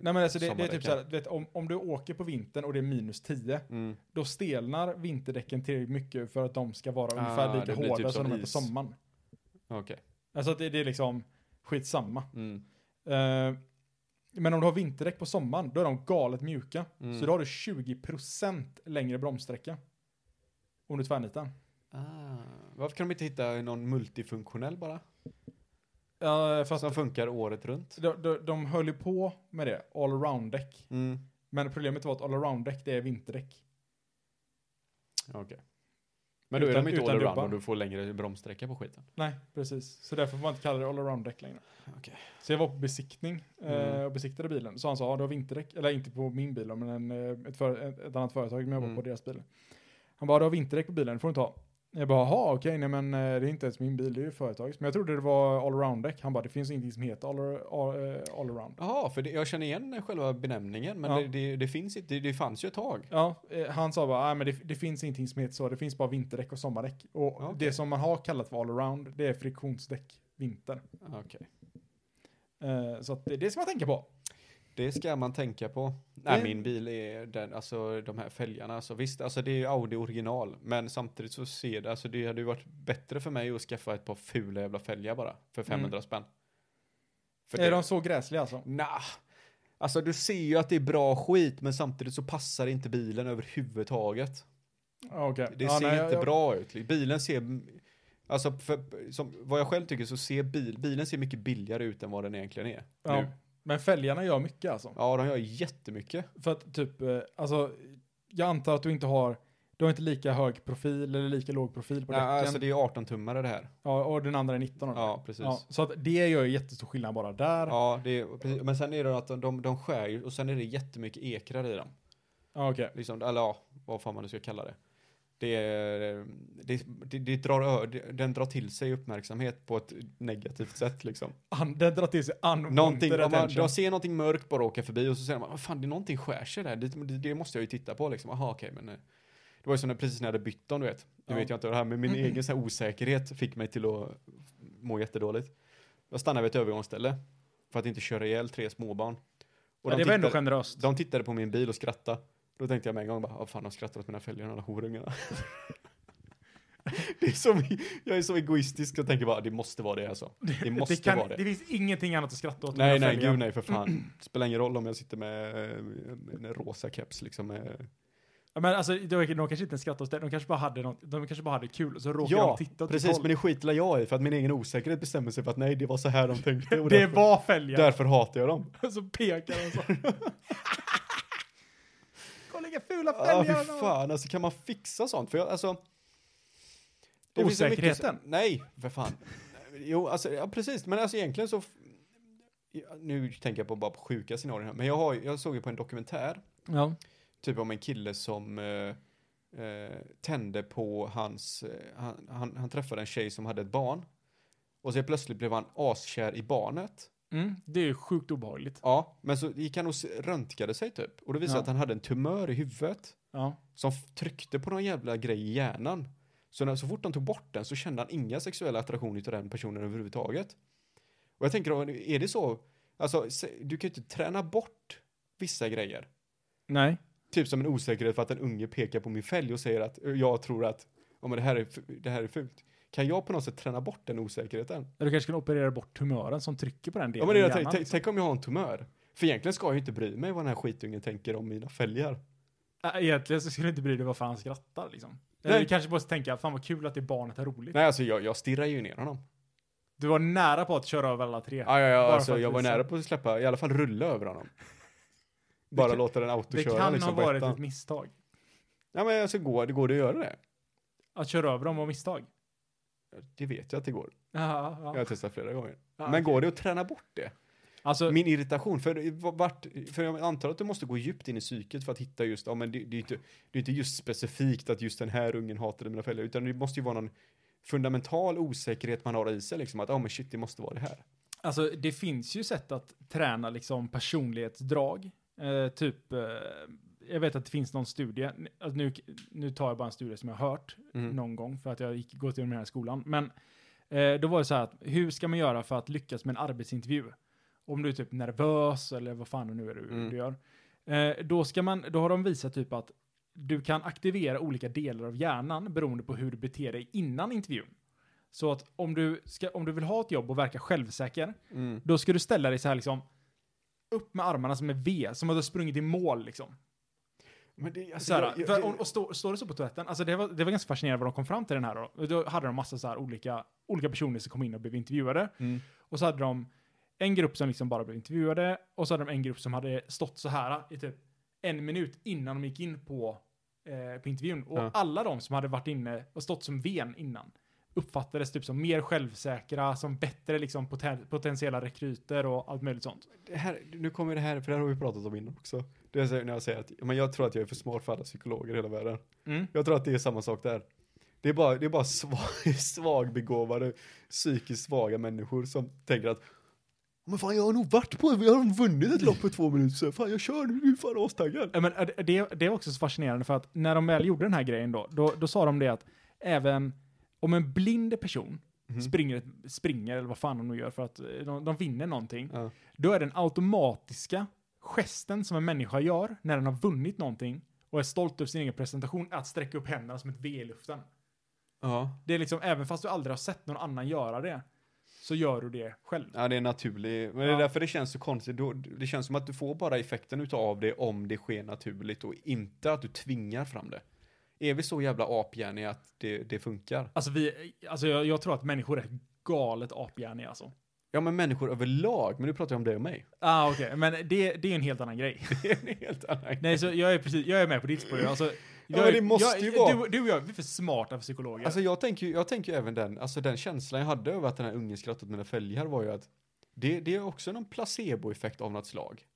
S1: Nej men alltså det, det är
S3: Sommardäcken.
S1: typ så här, du vet, om, om du åker på vintern och det är minus 10,
S3: Mm.
S1: då stelnar vinterdäcken tillräckligt mycket för att de ska vara
S3: Ah,
S1: ungefär
S3: det
S1: lika
S3: blir
S1: hårda
S3: typ
S1: som,
S3: som
S1: de är på
S3: is.
S1: sommaren.
S3: Okej.
S1: Alltså att det, det är liksom skitsamma.
S3: Mm.
S1: Eh, men om du har vinterdäck på sommaren, då är de galet mjuka.
S3: Mm.
S1: Så då har du 20% längre bromssträcka. Om du tvärnitar.
S3: Ah. Varför kan de inte hitta någon multifunktionell bara?
S1: Uh, för
S3: Som
S1: att
S3: funkar året runt?
S1: de, de, de höll ju på med det, allround-däck.
S3: Mm.
S1: Men problemet var att allround-däck, det är vinterdäck.
S3: Okej. Men då är
S1: Utan-
S3: de inte
S1: utan
S3: allround
S1: dubbar.
S3: och du får längre bromssträcka på skiten.
S1: Nej, precis. Så därför får man inte kalla det allround-däck längre.
S3: Okej.
S1: Så jag var på besiktning eh,
S3: Mm.
S1: och besiktade bilen. Så han sa, ja du har vinterdäck. Eller inte på min bil, men en, eh, ett, för, ett, ett annat företag, men jag var
S3: Mm.
S1: på deras bil. Han bara, du har vinterdäck på bilen, det får du inte ha. Jag bara, jaha okej, nej men eh, det är inte ens min bil, det är ju företagets. Men jag trodde det var allround-däck. Han bara, det finns ingenting som heter all, all, eh, allround.
S3: Jaha, för det, jag känner igen själva benämningen, men
S1: Ja.
S3: det, det, det finns inte, det, det fanns ju ett tag.
S1: Ja, eh, han sa bara, nej men det, det finns ingenting som heter så, det finns bara vinterdäck och sommardäck. Och
S3: Ah, Okej.
S1: det som man har kallat för allround, det är friktionsdäck vinter.
S3: Okej.
S1: Eh, så att det, det ska man tänka på.
S3: Det ska man tänka på. Nej,
S1: Det-
S3: min bil är den, alltså de här fälgarna, alltså visst, alltså det är ju Audi original, men samtidigt så ser det, alltså det hade ju varit bättre för mig att skaffa ett par fula jävla fälgar bara, för 500 spänn. För
S1: Mm. är
S3: det,
S1: de så gräsliga alltså?
S3: Nah. Alltså du ser ju att det är bra skit, men samtidigt så passar inte bilen överhuvudtaget.
S1: Ja, Okej.
S3: Det
S1: Ja,
S3: ser
S1: nej,
S3: inte
S1: jag-
S3: bra ut. Bilen ser, alltså för, som, vad jag själv tycker så ser bil, bilen ser mycket billigare ut än vad den egentligen är.
S1: Ja.
S3: Nu.
S1: Men fälgarna gör mycket alltså.
S3: Ja, de gör jättemycket.
S1: För att typ, eh, alltså, jag antar att du inte har, du har inte lika hög profil eller lika låg profil på
S3: Nej,
S1: däcken.
S3: alltså det är 18-tummare det här.
S1: ja, och den andra är 19 år.
S3: Ja, precis.
S1: Ja,
S3: Ja.
S1: så att det gör ju jättestor skillnad bara där. Ja,
S3: det är, precis. men sen är det att de, de, de skär ju och sen är det jättemycket ekrar i dem.
S1: okej.
S3: Liksom, eller ja, vad fan man nu ska kalla det. Det, är- det, det, det drar, ö- det- den drar till sig uppmärksamhet på ett negativt sätt liksom.
S1: An- Den drar till sig unwanted
S3: Någonting, om man,
S1: attention.
S3: jag ser någonting mörkt bara åka förbi och så säger man, vad fan det är någonting skär sig där, det, det, det måste jag ju titta på liksom. Aha, okej, men eh, det var ju som när precis när jag hade bytt dem, du vet. Nu
S1: Ja. Mm.
S3: vet jag inte, det här med min egen så här osäkerhet fick mig till att må jättedåligt. Jag stannade vid ett övergångsställe för att inte köra ihjäl tre småbarn. Och
S1: ja,
S3: de,
S1: det var ändå
S3: tittade,
S1: generöst.
S3: de tittade på min bil och skrattade. Då tänkte jag med en gång bara, vad fan de skrattar åt mina fälgar, de där horungarna. det är som, jag är så egoistisk och tänker bara, det måste vara det alltså. Det måste
S1: det, kan,
S3: vara det.
S1: det finns ingenting annat att skratta åt. än
S3: Nej,
S1: den här
S3: nej,
S1: fälgen.
S3: gud nej för fan. Spelar ingen roll om jag sitter med eh, en rosa keps liksom. Med...
S1: Ja, Men alltså, de, de kanske inte skrattade åt det, de kanske bara hade något, de kanske bara hade kul och så råkade
S3: Ja,
S1: de titta åt
S3: precis,
S1: ditt
S3: men
S1: håll.
S3: det skiter jag i för att min egen osäkerhet bestämmer sig för att nej, det var så här de tänkte. Och
S1: Det
S3: därför,
S1: var fälgar.
S3: därför hatar jag dem.
S1: Så pekar de så. Kolla vilka fula
S3: Ja,
S1: fälgar
S3: fy
S1: han har.
S3: fan, alltså kan man fixa sånt? För jag, alltså... det finns så mycket-
S1: Osäkerheten?
S3: Nej, för fan. Jo, alltså, ja, precis, men alltså egentligen så... Nu tänker jag på bara på sjuka scenarier här, men jag, har, ju- jag såg ju på en dokumentär
S1: Ja.
S3: Typ om en kille som eh, eh, tände på hans, eh, han, han, han träffade en tjej som hade ett barn. Och så plötsligt blev han askär i barnet.
S1: Mm, det är ju sjukt obehagligt.
S3: Ja, men så gick han och s- röntgade sig typ. Och det visade
S1: Ja.
S3: att han hade en tumör i huvudet.
S1: Ja.
S3: Som f- tryckte på någon jävla grej i hjärnan. Så, när, så fort han tog bort den så kände han inga sexuella attraktioner till den personen överhuvudtaget. Och jag tänker, då, är det så? Alltså, se- du kan ju inte träna bort vissa grejer.
S1: Nej.
S3: Typ som en osäkerhet för att en unge pekar på min fälg och säger att eh, jag tror att ja, men det, här är, fu- det här är fult. Kan jag på något sätt träna bort den osäkerheten?
S1: Eller du kanske kan operera bort tumören som trycker på den delen
S3: Ja, men det
S1: i
S3: är, tänk,
S1: hjärnan.
S3: tänk- tänk om jag har en tumör. För egentligen ska jag ju inte bry mig vad den här skitungen tänker om mina fälgar.
S1: Äh, Egentligen så skulle du inte bry dig varför han skrattar liksom. Eller
S3: Nej.
S1: du kanske måste tänka, fan vad kul att det barnet är roligt.
S3: Nej, alltså jag, jag stirrar ju ner honom.
S1: Du var nära på att köra över alla tre.
S3: Ja, ja, ja,
S1: Bara för
S3: alltså
S1: att
S3: jag var
S1: visa.
S3: nära på att släppa, i alla fall rulla över honom. Bara
S1: kan-
S3: låta den
S1: det
S3: autoköra
S1: kan
S3: liksom
S1: ha
S3: på
S1: varit
S3: ettan.
S1: ett misstag.
S3: Ja, men alltså går det, går det att göra det?
S1: Att köra över dem var misstag.
S3: Det vet jag att det går.
S1: Ja,
S3: Jag
S1: ja.
S3: har testat flera gånger.
S1: Ja,
S3: Men går det att träna bort det?
S1: Alltså,
S3: Min irritation, för, vart, för jag antar att du måste gå djupt in i psyket för att hitta just, ja men det, det, är ju inte, det är inte just specifikt att just den här ungen hatade mina föräldrar, utan det måste ju vara någon fundamental osäkerhet man har i sig liksom, att ja men shit det måste vara det här.
S1: Alltså det finns ju sätt att träna liksom personlighetsdrag. Eh, typ, eh, jag vet att det finns någon studie, N- alltså, nu, nu tar jag bara en studie som jag har hört
S3: Mm.
S1: någon gång för att jag gick, gått igenom den här skolan. Men eh, då var det så här att hur ska man göra för att lyckas med en arbetsintervju? Om du är typ nervös eller vad fan det nu är du,
S3: Mm.
S1: du gör. Eh, då, ska man, då har de visat typ att du kan aktivera olika delar av hjärnan beroende på hur du beter dig innan intervjun. Så att om du, ska, om du vill ha ett jobb och verka självsäker, då ska du ställa dig så här liksom upp med armarna som är V, som att du har sprungit i mål liksom.
S3: Men det, alltså,
S1: Så här,
S3: jag- jag-
S1: för, och och stå, står det så på toaletten? Alltså det var, det var ganska fascinerande vad de kom fram till den här då. Då hade de massa så här olika, olika personer som kom in och blev intervjuade.
S3: Mm.
S1: Och så hade de en grupp som liksom bara blev intervjuade och så hade de en grupp som hade stått så här i typ en minut innan de gick in på, eh, på intervjun. Och
S3: Ja.
S1: alla de som hade varit inne och stått som ven innan uppfattades typ som mer självsäkra, som bättre liksom poten- potentiella rekryter och allt möjligt sånt.
S3: det här, nu kommer det här, för det här har vi pratat om innan också. Det är så här när jag säger att, men jag tror att jag är för smart för alla psykologer i hela världen.
S1: Mm.
S3: Jag tror att det är samma sak där. Det är bara, det är bara svag, svagbegåvade, psykiskt svaga människor som tänker att men fan jag har nog varit på, jag har vunnit ett lopp på två minuter så fan jag kör nu, nu är fan astaggad.
S1: Ja, men eh, det, det är också så fascinerande för att när de väl gjorde den här grejen då, då, då sa de det att även om en blind person
S3: Mhm.
S1: springer, ett- springer, eller vad fan de nu gör för att eh, de, de vinner någonting,
S3: Ja.
S1: då är den automatiska gesten som en människa gör när den har vunnit någonting och är stolt över sin egen presentation att sträcka upp händerna som ett V i luften.
S3: Ja.
S1: Det är liksom, även fast du aldrig har sett någon annan göra det, så gör du det själv.
S3: ja, det är naturligt. Men det
S1: Ja.
S3: är därför det känns så konstigt. Då- Det känns som att du får bara effekten utav det om det sker naturligt och inte att du tvingar fram det. Är vi så jävla apjärniga att det, det funkar?
S1: Alltså, vi, alltså jag, jag tror att människor är galet apjärniga alltså.
S3: Ja, men människor överlag. Men nu pratar jag om dig och mig.
S1: Ah, okej, men det, det är en helt annan grej.
S3: Det är en helt annan
S1: Nej, så jag är, precis, jag är med på ditt spår. Alltså, jag,
S3: men
S1: är-
S3: det måste
S1: jag,
S3: ju vara.
S1: Du, du och jag, vi är för smarta för psykologer.
S3: Alltså jag tänker ju, jag tänker ju även den, alltså den känslan jag hade över att den här ungen skrattade åt mina fälgar var ju att det, det är också någon placeboeffekt av något slag.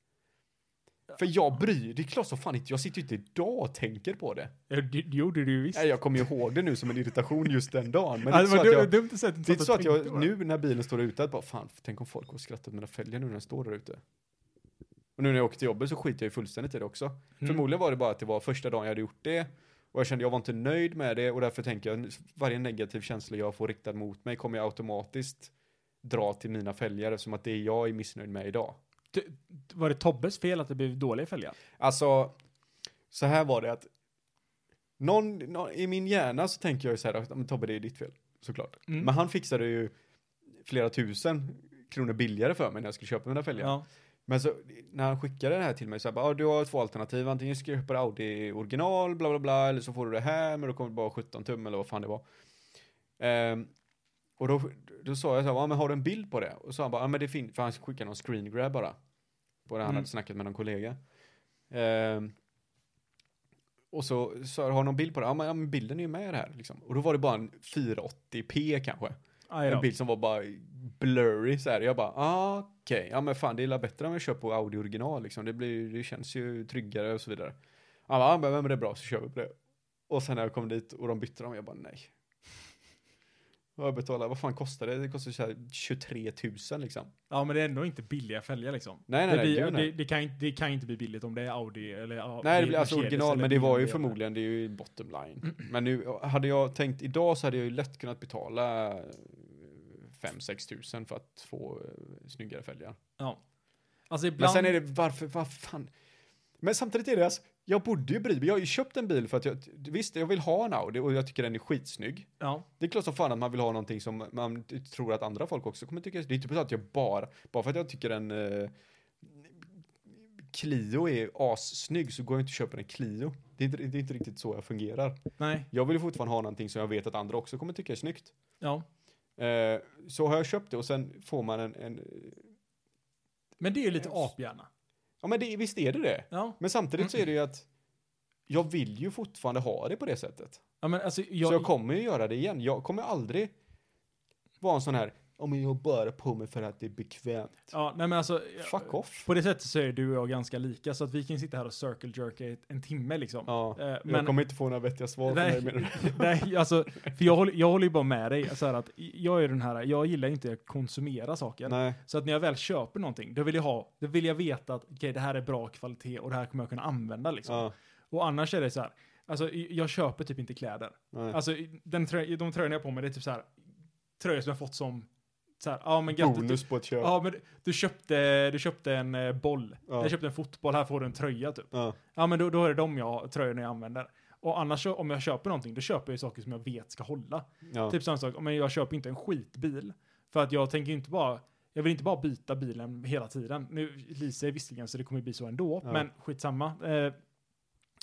S3: För jag bryr, det är klart så fan inte, jag sitter ju inte idag och tänker på det.
S1: Ja, det, det gjorde du ju visst.
S3: Nej, jag kommer ju ihåg det nu som en irritation just den dagen. Men det är inte
S1: alltså,
S3: så att
S1: det var
S3: jag,
S1: du, dumt att säga att du
S3: det är inte
S1: satt
S3: så
S1: och
S3: att jag
S1: tänkte på det.
S3: nu när bilen står ute att bara fan, tänk om folk går och skrattar åt mina fälgar nu när den står där ute. Och nu när jag åker till jobbet så skiter jag ju fullständigt i det också. Förmodligen var det bara att det var första dagen jag hade gjort det. Och jag kände jag var inte nöjd med det och därför tänker jag varje negativ känsla jag får riktad mot mig kommer jag automatiskt dra till mina följare som att det är jag är missnöjd med idag.
S1: T- Var det Tobbes fel att det blev dåliga följare?
S3: Alltså, så här var det att någon, nå- i min hjärna så tänker jag ju så här, att, "Ja, men Tobbe det är ditt fel, såklart.
S1: Mm.
S3: Men han fixade ju flera tusen kronor billigare för mig när jag skulle köpa mina fälgar.
S1: Ja.
S3: Men så när han skickade det här till mig så här, bara, "Ja, du har två alternativ, antingen ska du köpa Audi original, bla bla bla, eller så får du det här, men då kommer det bara 17 tum eller vad fan det var. Ehm, och då, då sa jag så här, ja men har du en bild på det? Och så han bara, ja men det finns, för han skickade någon screen grab bara. På det han
S1: Mm.
S3: hade snackat med någon kollega. Ehm, och så sa jag, har du någon bild på det? Ja men, ja, men bilden är ju med här liksom. Och då var det bara en 480p kanske.
S1: Aj då.
S3: En bild som var bara blurry så här. Jag bara, ah, okej, ja men fan det är la bättre om jag kör på Audi original liksom. Det, blir, det känns ju tryggare och så vidare. Han bara, ah, men, men det är bra så kör vi på det. Och sen när jag kom dit och de bytte dem, jag bara nej. Och jag betalade, vad fan kostar det? Det kostar så här 23 000 liksom.
S1: Ja, men det är ändå inte billiga fälgar liksom.
S3: Nej, nej,
S1: det,
S3: nej,
S1: blir,
S3: gud, nej.
S1: det, det, kan, inte- det kan inte bli billigt om det är Audi eller ja,
S3: Nej, det blir alltså
S1: Mercedes
S3: original,
S1: eller
S3: men det var ju
S1: BMW.
S3: förmodligen, det är ju bottom line. Men nu, hade jag tänkt idag så hade jag ju lätt kunnat betala 5-6 tusen för att få eh, snyggare fälgar.
S1: Ja. Alltså
S3: Men
S1: ibland...
S3: sen är det varför, vad fan. Men samtidigt är det alltså, jag borde ju bry mig. Jag har ju köpt en bil för att jag, visst jag vill ha en Audi och jag tycker den är skitsnygg.
S1: Ja.
S3: Det är klart som fan att man vill ha någonting som man t- tror att andra folk också kommer tycka. Det är inte så att jag bara, bara för att jag tycker en eh, Clio är assnygg så går jag inte och köper en Clio. Det är, inte, det är inte riktigt så jag fungerar.
S1: Nej.
S3: Jag vill ju fortfarande ha någonting som jag vet att andra också kommer tycka är snyggt.
S1: Ja.
S3: Eh, så har jag köpt det och sen får man en, en
S1: Men det är ju lite aphjärna.
S3: ja men det, visst är det det?
S1: Ja.
S3: Men samtidigt så är det
S1: Mm.
S3: ju att jag vill ju fortfarande ha det på det sättet.
S1: Ja, men alltså
S3: så jag kommer ju göra det igen. Jag kommer aldrig, var en sån här, ja men jag har bara på mig för att det är bekvämt.
S1: Ja, nej men alltså.
S3: Fuck off.
S1: På det sättet så är du och jag ganska lika, så att vi kan sitta här och circle jerka i en timme liksom.
S3: Ja,
S1: Eh,
S3: jag kommer inte få några vettiga svar från dig menar du?
S1: Nej, nej, alltså, för jag håller, jag håller ju bara med dig. Så här att jag är den här, jag gillar inte att konsumera saker.
S3: Nej.
S1: Så att när jag väl köper någonting, då vill jag ha, då vill jag veta att okej, det här är bra kvalitet och det här kommer jag kunna använda liksom.
S3: Ja,
S1: Och annars är det så här, alltså jag köper typ inte kläder.
S3: nej.
S1: Alltså den trö, de tröjorna jag har på mig, det är typ så här, tröjor som jag fått som, så här, ja men gött, du,
S3: Bonus på ett köp.
S1: ja men du- du köpte, du köpte en eh, boll,
S3: Ja.
S1: jag köpte en fotboll, här får du en tröja typ.
S3: Ja.
S1: Ja, men då, då är det de jag, tröjorna jag använder. Och annars så, om jag köper någonting, då köper jag ju saker som jag vet ska hålla.
S3: Ja.
S1: Typ samma sak, men jag köper inte en skitbil. För att jag tänker ju inte bara, jag vill inte bara byta bilen hela tiden. Nu, Lisa är visserligen så det kommer ju bli så ändå,
S3: Ja.
S1: men skitsamma. Eh,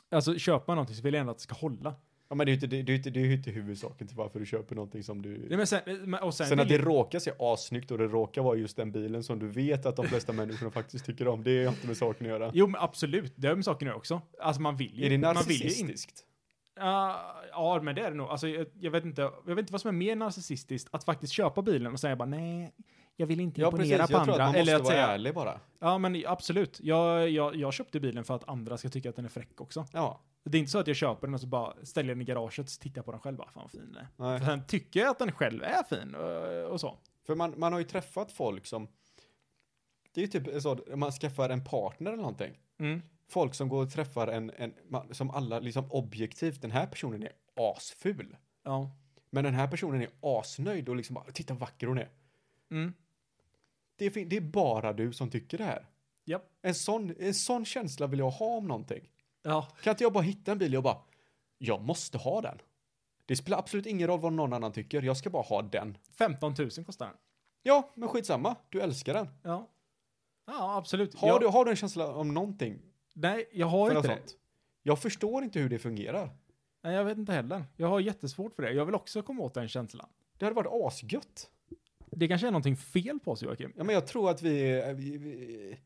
S1: alltså köper man någonting så vill jag ändå att det ska hålla.
S3: ja, men det är ju inte, det, det är ju inte, det är ju inte huvudsaken till varför du köper någonting som du...
S1: Nej, men sen, eh, men- och sen,
S3: Sen, att det
S1: vill-
S3: råkar se assnyggt och det råkar vara just den bilen som du vet att de flesta människorna faktiskt tycker om, det är ju inte med saken att göra.
S1: Jo men absolut, det har med saken att göra också. Alltså man vill ju
S3: Är det
S1: man vill ju inte.
S3: narcissistiskt?
S1: Ja, ja, men det är det nog. Alltså, jag, jag, vet inte, jag vet inte vad som är mer narcissistiskt. Att faktiskt köpa bilen och säga bara nej, jag vill inte
S3: Ja precis,
S1: imponera
S3: jag
S1: på
S3: tror
S1: andra.
S3: att man
S1: Eller
S3: måste
S1: att
S3: vara
S1: säga,
S3: ärlig bara.
S1: ja men absolut. Jag, jag, jag köpte bilen för att andra ska tycka att den är fräck också.
S3: Ja.
S1: Det är inte så att jag köper den och så bara ställer jag den i garaget och tittar jag på den själv. Bara, fan vad fin den är.
S3: Nej.
S1: För sen tycker jag att den själv är fin och, och så.
S3: För man, man har ju träffat folk som, det är ju typ så, att man skaffar en partner eller någonting.
S1: Mm.
S3: Folk som går och träffar en, en man, som alla liksom objektivt, den här personen är asful.
S1: Ja.
S3: Men den här personen är asnöjd och liksom bara, titta vad vacker hon är.
S1: Mm.
S3: Det är, fin- det är bara du som tycker det här.
S1: Japp.
S3: En sån, en sån känsla vill jag ha om någonting.
S1: Ja.
S3: Kan inte jag bara hitta en bil och bara, jag måste ha den. Det spelar absolut ingen roll vad någon annan tycker, jag ska bara ha den.
S1: 15 000 kostar den.
S3: Ja, men skitsamma, du älskar den.
S1: Ja. Ja, absolut.
S3: Har,
S1: jag,
S3: du, har du en känsla om någonting?
S1: Nej, jag har
S3: För
S1: inte
S3: något
S1: det.
S3: sånt? Jag förstår inte hur det fungerar.
S1: Nej, jag vet inte heller. Jag har jättesvårt för det. Jag vill också komma åt den känslan.
S3: Det hade varit asgött.
S1: Det kanske är någonting fel på oss Joakim.
S3: Ja, men jag tror att vi är, vi, vi,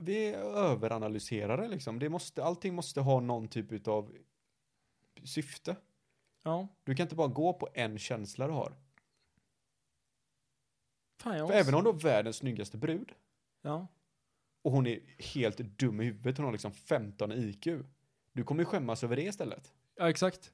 S3: vi är överanalyserare liksom. Det måste, allting måste ha någon typ av syfte.
S1: Ja.
S3: Du kan inte bara gå på en känsla du har.
S1: Fan, jag
S3: För även om du har världens snyggaste brud
S1: Ja.
S3: och hon är helt dum i huvudet, hon har liksom 15 i IQ. Du kommer ju skämmas över det istället.
S1: ja, exakt.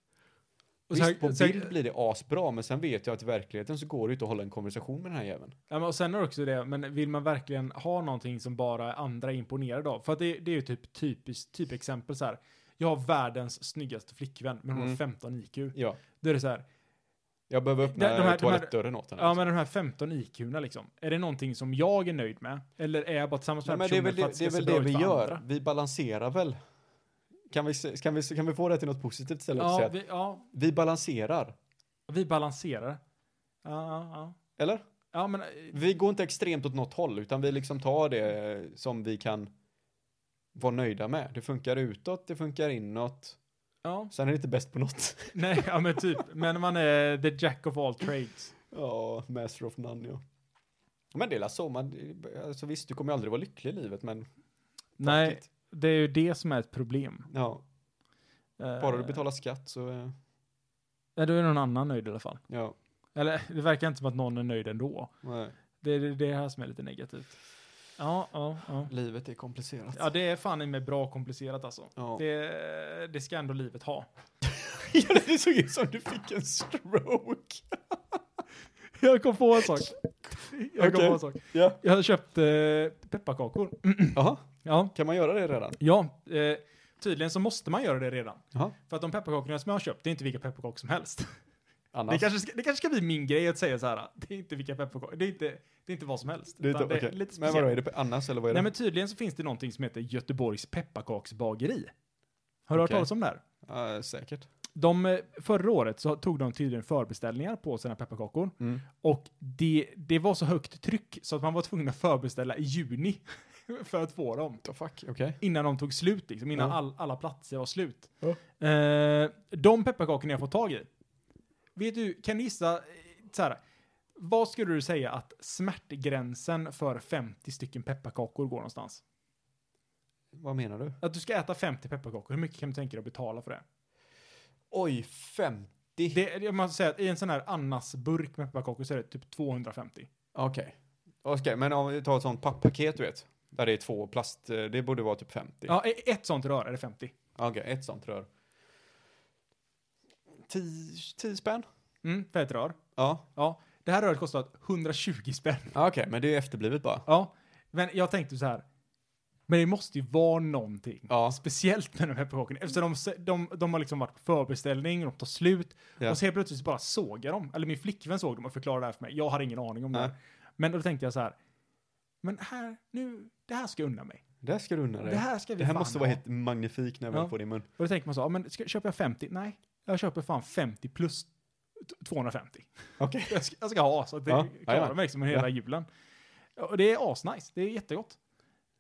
S1: Och
S3: Visst,
S1: sen-
S3: på
S1: sen-
S3: bild blir det asbra, men sen vet jag att i verkligheten så går det ju inte att hålla en konversation med den här jäveln.
S1: Ja, men och sen är det också det, men vill man verkligen ha någonting som bara andra är imponerade av? För att det, det är ju typ typiskt, typ exempel så här. Jag har världens snyggaste flickvän, men hon har
S3: Mm.
S1: 15 IQ.
S3: Ja.
S1: Då är det så här,
S3: Jag behöver
S1: De-
S3: öppna
S1: de här- de här-
S3: toalettdörren åt henne.
S1: ja men de här 15 IQ'na liksom. Är det någonting som jag är nöjd med? Eller är jag bara tillsammans
S3: Nej,
S1: med den
S3: men det
S1: personen
S3: är väl
S1: för
S3: det,
S1: att
S3: det, är
S1: ska
S3: väl
S1: se
S3: det
S1: bra
S3: vi
S1: ut för
S3: gör.
S1: andra?
S3: Vi balanserar väl. Kan vi, se- kan, vi, se- kan vi få det till något positivt istället? för att säga
S1: Ja
S3: att
S1: vi, ja,
S3: vi balanserar.
S1: vi balanserar. Ja, ja, ja.
S3: Eller?
S1: Ja, men eh,
S3: Vi går inte extremt åt något håll, utan vi liksom tar det som vi kan vara nöjda med. Det funkar utåt, det funkar inåt.
S1: Ja,
S3: Sen är det inte bäst på något.
S1: nej, ja men typ. Men man är the jack of all trades.
S3: Ja, master of none, ja. Men det är väl så, man, alltså visst, du kommer ju aldrig vara lycklig i livet, men fuck
S1: Nej,
S3: it.
S1: det är ju det som är ett problem.
S3: Ja,
S1: Eh,
S3: bara du betalar skatt så, eh,
S1: Ja, då är någon annan nöjd i alla fall.
S3: ja,
S1: Eller det verkar inte som att någon är nöjd ändå.
S3: nej.
S1: Det är det, det här som är lite negativt. Ja, ja, ja.
S3: Livet är komplicerat.
S1: Ja, det är fan i mig bra komplicerat alltså.
S3: Ja.
S1: Det, det ska ändå livet ha.
S3: Ja, det såg ut som du fick en stroke.
S1: Jag kom på en sak. Jag kom
S3: Okej.
S1: på en sak.
S3: Ja.
S1: Jag köpte pepparkakor.
S3: Jaha,
S1: Ja,
S3: kan man göra det redan?
S1: ja. Eh, tydligen så måste man göra det redan.
S3: Jaha,
S1: För att de pepparkakorna som jag har köpt, det är inte vilka pepparkakor som helst.
S3: annars.
S1: Det kanske, ska, det kanske ska bli min grej att säga så här. Det är inte vilka pepparkakor, det är inte, det är inte vad som helst.
S3: Det är inte,
S1: utan
S3: okej.
S1: det är lite
S3: men
S1: speciellt.
S3: vadå, är det annars eller vad är det?
S1: Nej men tydligen så finns det någonting som heter Göteborgs pepparkaksbageri. Har du hört
S3: Okej.
S1: talas om det här?
S3: Ja, säkert.
S1: De, eh, förra året så tog de tydligen förbeställningar på sina pepparkakor.
S3: Mm.
S1: Och det, det var så högt tryck så att man var tvungen att förbeställa i juni för att få dem.
S3: The fuck, okej. Okay.
S1: Innan de tog slut, liksom, innan
S3: Ja.
S1: all, alla platser var slut.
S3: Ja.
S1: Eh, de pepparkakorna jag fått tag i. Vet du, kan du gissa, eh, så här, vad skulle du säga att smärtgränsen för 50 stycken pepparkakor går någonstans?
S3: Vad menar du?
S1: Att du ska äta 50 pepparkakor, hur mycket kan du tänka dig att betala för det?
S3: Oj, 50 50?
S1: Det, det- man säger att i en sån här Annas-burk med pepparkakor så är det typ 250.
S3: Okej. Okej, men om vi tar ett sånt pappaket du vet. Där det är två plast, eh, det borde vara typ 50.
S1: Ja, e- ett sånt rör är det 50.
S3: Okej, ett sånt rör. 10 10 spänn?
S1: Mm, för ett rör.
S3: Ja.
S1: Ja, det här röret kostar 120 spänn.
S3: Ja, Okej, men det är ju efterblivet bara.
S1: Ja, men jag tänkte så här. Men det måste ju vara någonting.
S3: Ja.
S1: Speciellt med de här pepparkakorna. Eftersom de, se- de, de har liksom varit på förbeställning, de tar slut.
S3: Ja.
S1: Och så helt plötsligt så bara såg jag dem. Eller min flickvän såg dem och förklarade det här för mig. Jag hade ingen aning om det
S3: Nej.
S1: här. Men då tänkte jag så här. Men här, nu, det här ska jag unna mig.
S3: Det här ska du unna dig.
S1: Det här ska vi
S3: Det här
S1: fan
S3: måste vara
S1: ha.
S3: helt magnifikt när jag
S1: Ja.
S3: väl får det i mun.
S1: Och då tänker man så, ja, men ska, köper jag 50? Nej, jag köper fan 50 plus t- 250.
S3: Okej.
S1: Jag ska, jag ska ha så att det
S3: Ja,
S1: klarar
S3: jajamän.
S1: mig liksom hela
S3: Ja.
S1: julen. Och det är asnice, det är jättegott.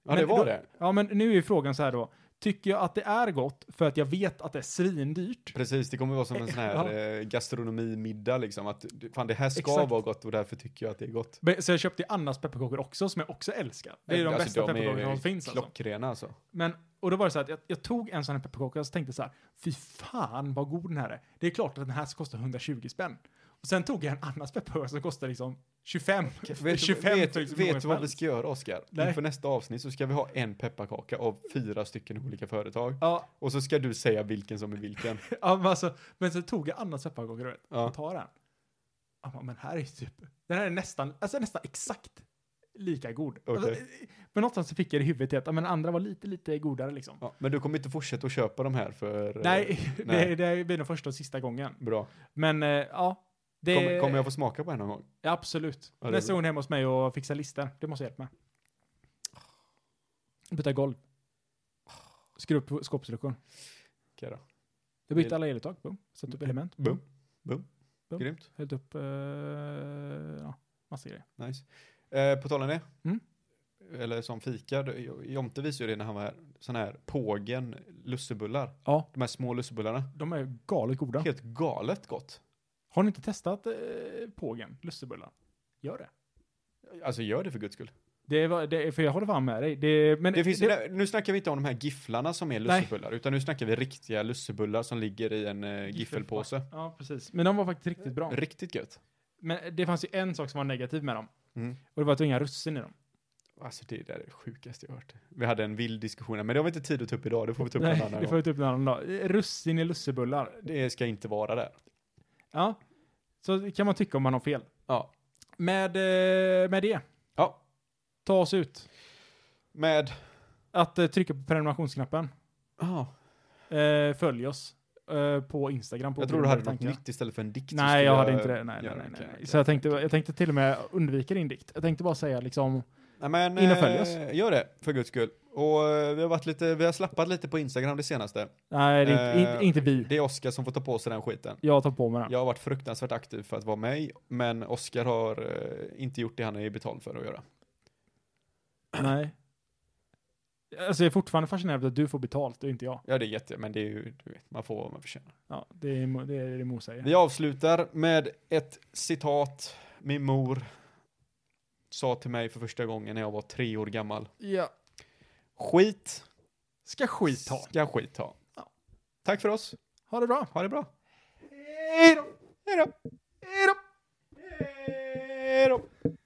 S3: Ja, det
S1: Men
S3: var
S1: då-
S3: det.
S1: Ja, men nu är frågan så här då. Tycker jag att det är gott för att jag vet att det är svindyrt?
S3: Precis, det kommer vara som en sån här eh, gastronomimiddag liksom. Att du- fan, det här ska
S1: Exakt.
S3: vara gott och därför tycker jag att det är gott.
S1: Men- Så jag köpte ju Annas pepparkakor också, som jag också älskar. Det är ju de
S3: Alltså,
S1: bästa
S3: är
S1: pepparkakorna som finns alltså.
S3: Klockrena alltså.
S1: Men, och då var det så här att jag, jag tog en sån här pepparkaka och så tänkte så här, fy fan vad god den här är. Det är klart att den här ska kosta 120 spänn. Och sen tog jag en Annas pepparkaka som kostar liksom 25.
S3: Vet,
S1: 25
S3: vet,
S1: för liksom
S3: vet
S1: många
S3: du vad
S1: spänn.
S3: vi ska göra Oskar?
S1: Nej.
S3: Inför nästa avsnitt så ska vi ha en pepparkaka av fyra stycken olika företag.
S1: Ja,
S3: Och så ska du säga vilken som är vilken.
S1: ja men, alltså, men så tog jag Annas pepparkaka du vet,
S3: Ja.
S1: och tar den. Jag bara, men här är ju typ, den här är nästan, alltså nästan exakt lika god.
S3: Okej.
S1: Alltså, men någonstans så fick jag det i huvudet att ja, men andra var lite, lite godare liksom.
S3: Ja, men du kommer inte fortsätta att köpa de här för... eh,
S1: Nej,
S3: nej.
S1: Det, det blir nog första och sista gången.
S3: Bra.
S1: Men eh, ja, det...
S3: Kommer, kommer jag få smaka på en någon gång?
S1: Ja, absolut.
S3: Ja, det är
S1: Nästa
S3: bra.
S1: gång hemma hos mig och fixa listor. Det måste jag hjälpa med. Byta golv. Skruva upp skåpsluckor.
S3: Okej då. Mm.
S1: Jag bytte alla eluttag. Boom. Satt upp element.
S3: Boom. Boom.
S1: Boom.
S3: Grymt.
S1: Hällt upp, eh, ja, massa grejer.
S3: Nice. Eh, på tal om det.
S1: Mm.
S3: Eller som fika. då- Jonte visade ju det när han var här. Sån här pågen lussebullar.
S1: Ja,
S3: De här små lussebullarna.
S1: de är galet goda.
S3: Helt galet gott.
S1: Har ni inte testat eh, pågen, lussebullar? Gör det.
S3: Alltså gör det för guds skull.
S1: Det, var, det för jag håller fan med dig. Det, men
S3: Det finns,
S1: det,
S3: Nu snackar vi inte om de här gifflarna som är
S1: Nej.
S3: lussebullar, utan nu snackar vi riktiga lussebullar som ligger i en eh, giffelpåse.
S1: Ja, precis. Men de var faktiskt riktigt bra.
S3: Riktigt gött.
S1: Men det fanns ju en sak som var negativ med dem.
S3: Mm.
S1: Och det var att det var inga russin i dem.
S3: Alltså det där är det sjukaste jag hört. Vi hade en vild diskussion, här, men det har vi inte tid att ta upp idag, det får vi ta upp en
S1: Nej,
S3: annan
S1: det får vi
S3: gång.
S1: ta upp en annan dag. Russin i lussebullar.
S3: Det ska inte vara där.
S1: Ja, så kan man tycka om man har fel.
S3: Ja.
S1: Med, eh, med det,
S3: Ja,
S1: ta oss ut.
S3: med...
S1: Att eh, trycka på prenumerationsknappen.
S3: Ah,
S1: Eh, Följ oss eh, på Instagram. På
S3: jag tror du hade något
S1: Tankar.
S3: nytt istället för en dikt. så skulle
S1: Nej, jag hade inte det. Nej, nej,
S3: göra.
S1: nej, nej,
S3: Okej,
S1: nej.
S3: okej.
S1: Så jag tänkte, jag tänkte till och med undvika din dikt. Jag tänkte bara säga liksom,
S3: Nej, men,
S1: In och följ oss.
S3: eh, Gör det, för guds skull. Och eh, vi har, varit lite, vi har slappat lite på Instagram det senaste.
S1: nej, det är inte,
S3: Eh,
S1: in, inte vi.
S3: Det är Oskar som får ta på sig den skiten.
S1: Jag tar på mig den.
S3: Jag har varit fruktansvärt aktiv för att vara mig, men Oskar har eh, inte gjort det han är betald för att göra.
S1: Nej. Alltså jag är fortfarande fascinerad över att du får betalt och inte jag.
S3: Ja, det är jätte, men det är ju, du vet, man får vad man förtjänar.
S1: Ja, det är mo- det, är det Mo säger.
S3: Vi avslutar med ett citat min mor sa till mig för första gången när jag var tre år gammal.
S1: Ja.
S3: Skit
S1: Ska skit ha.
S3: ska skit ha.
S1: Ja.
S3: Tack för oss.
S1: Ha det bra.
S3: Ha det bra.
S1: Hej då!
S3: Hej då.
S1: Hej då!
S3: Hej då.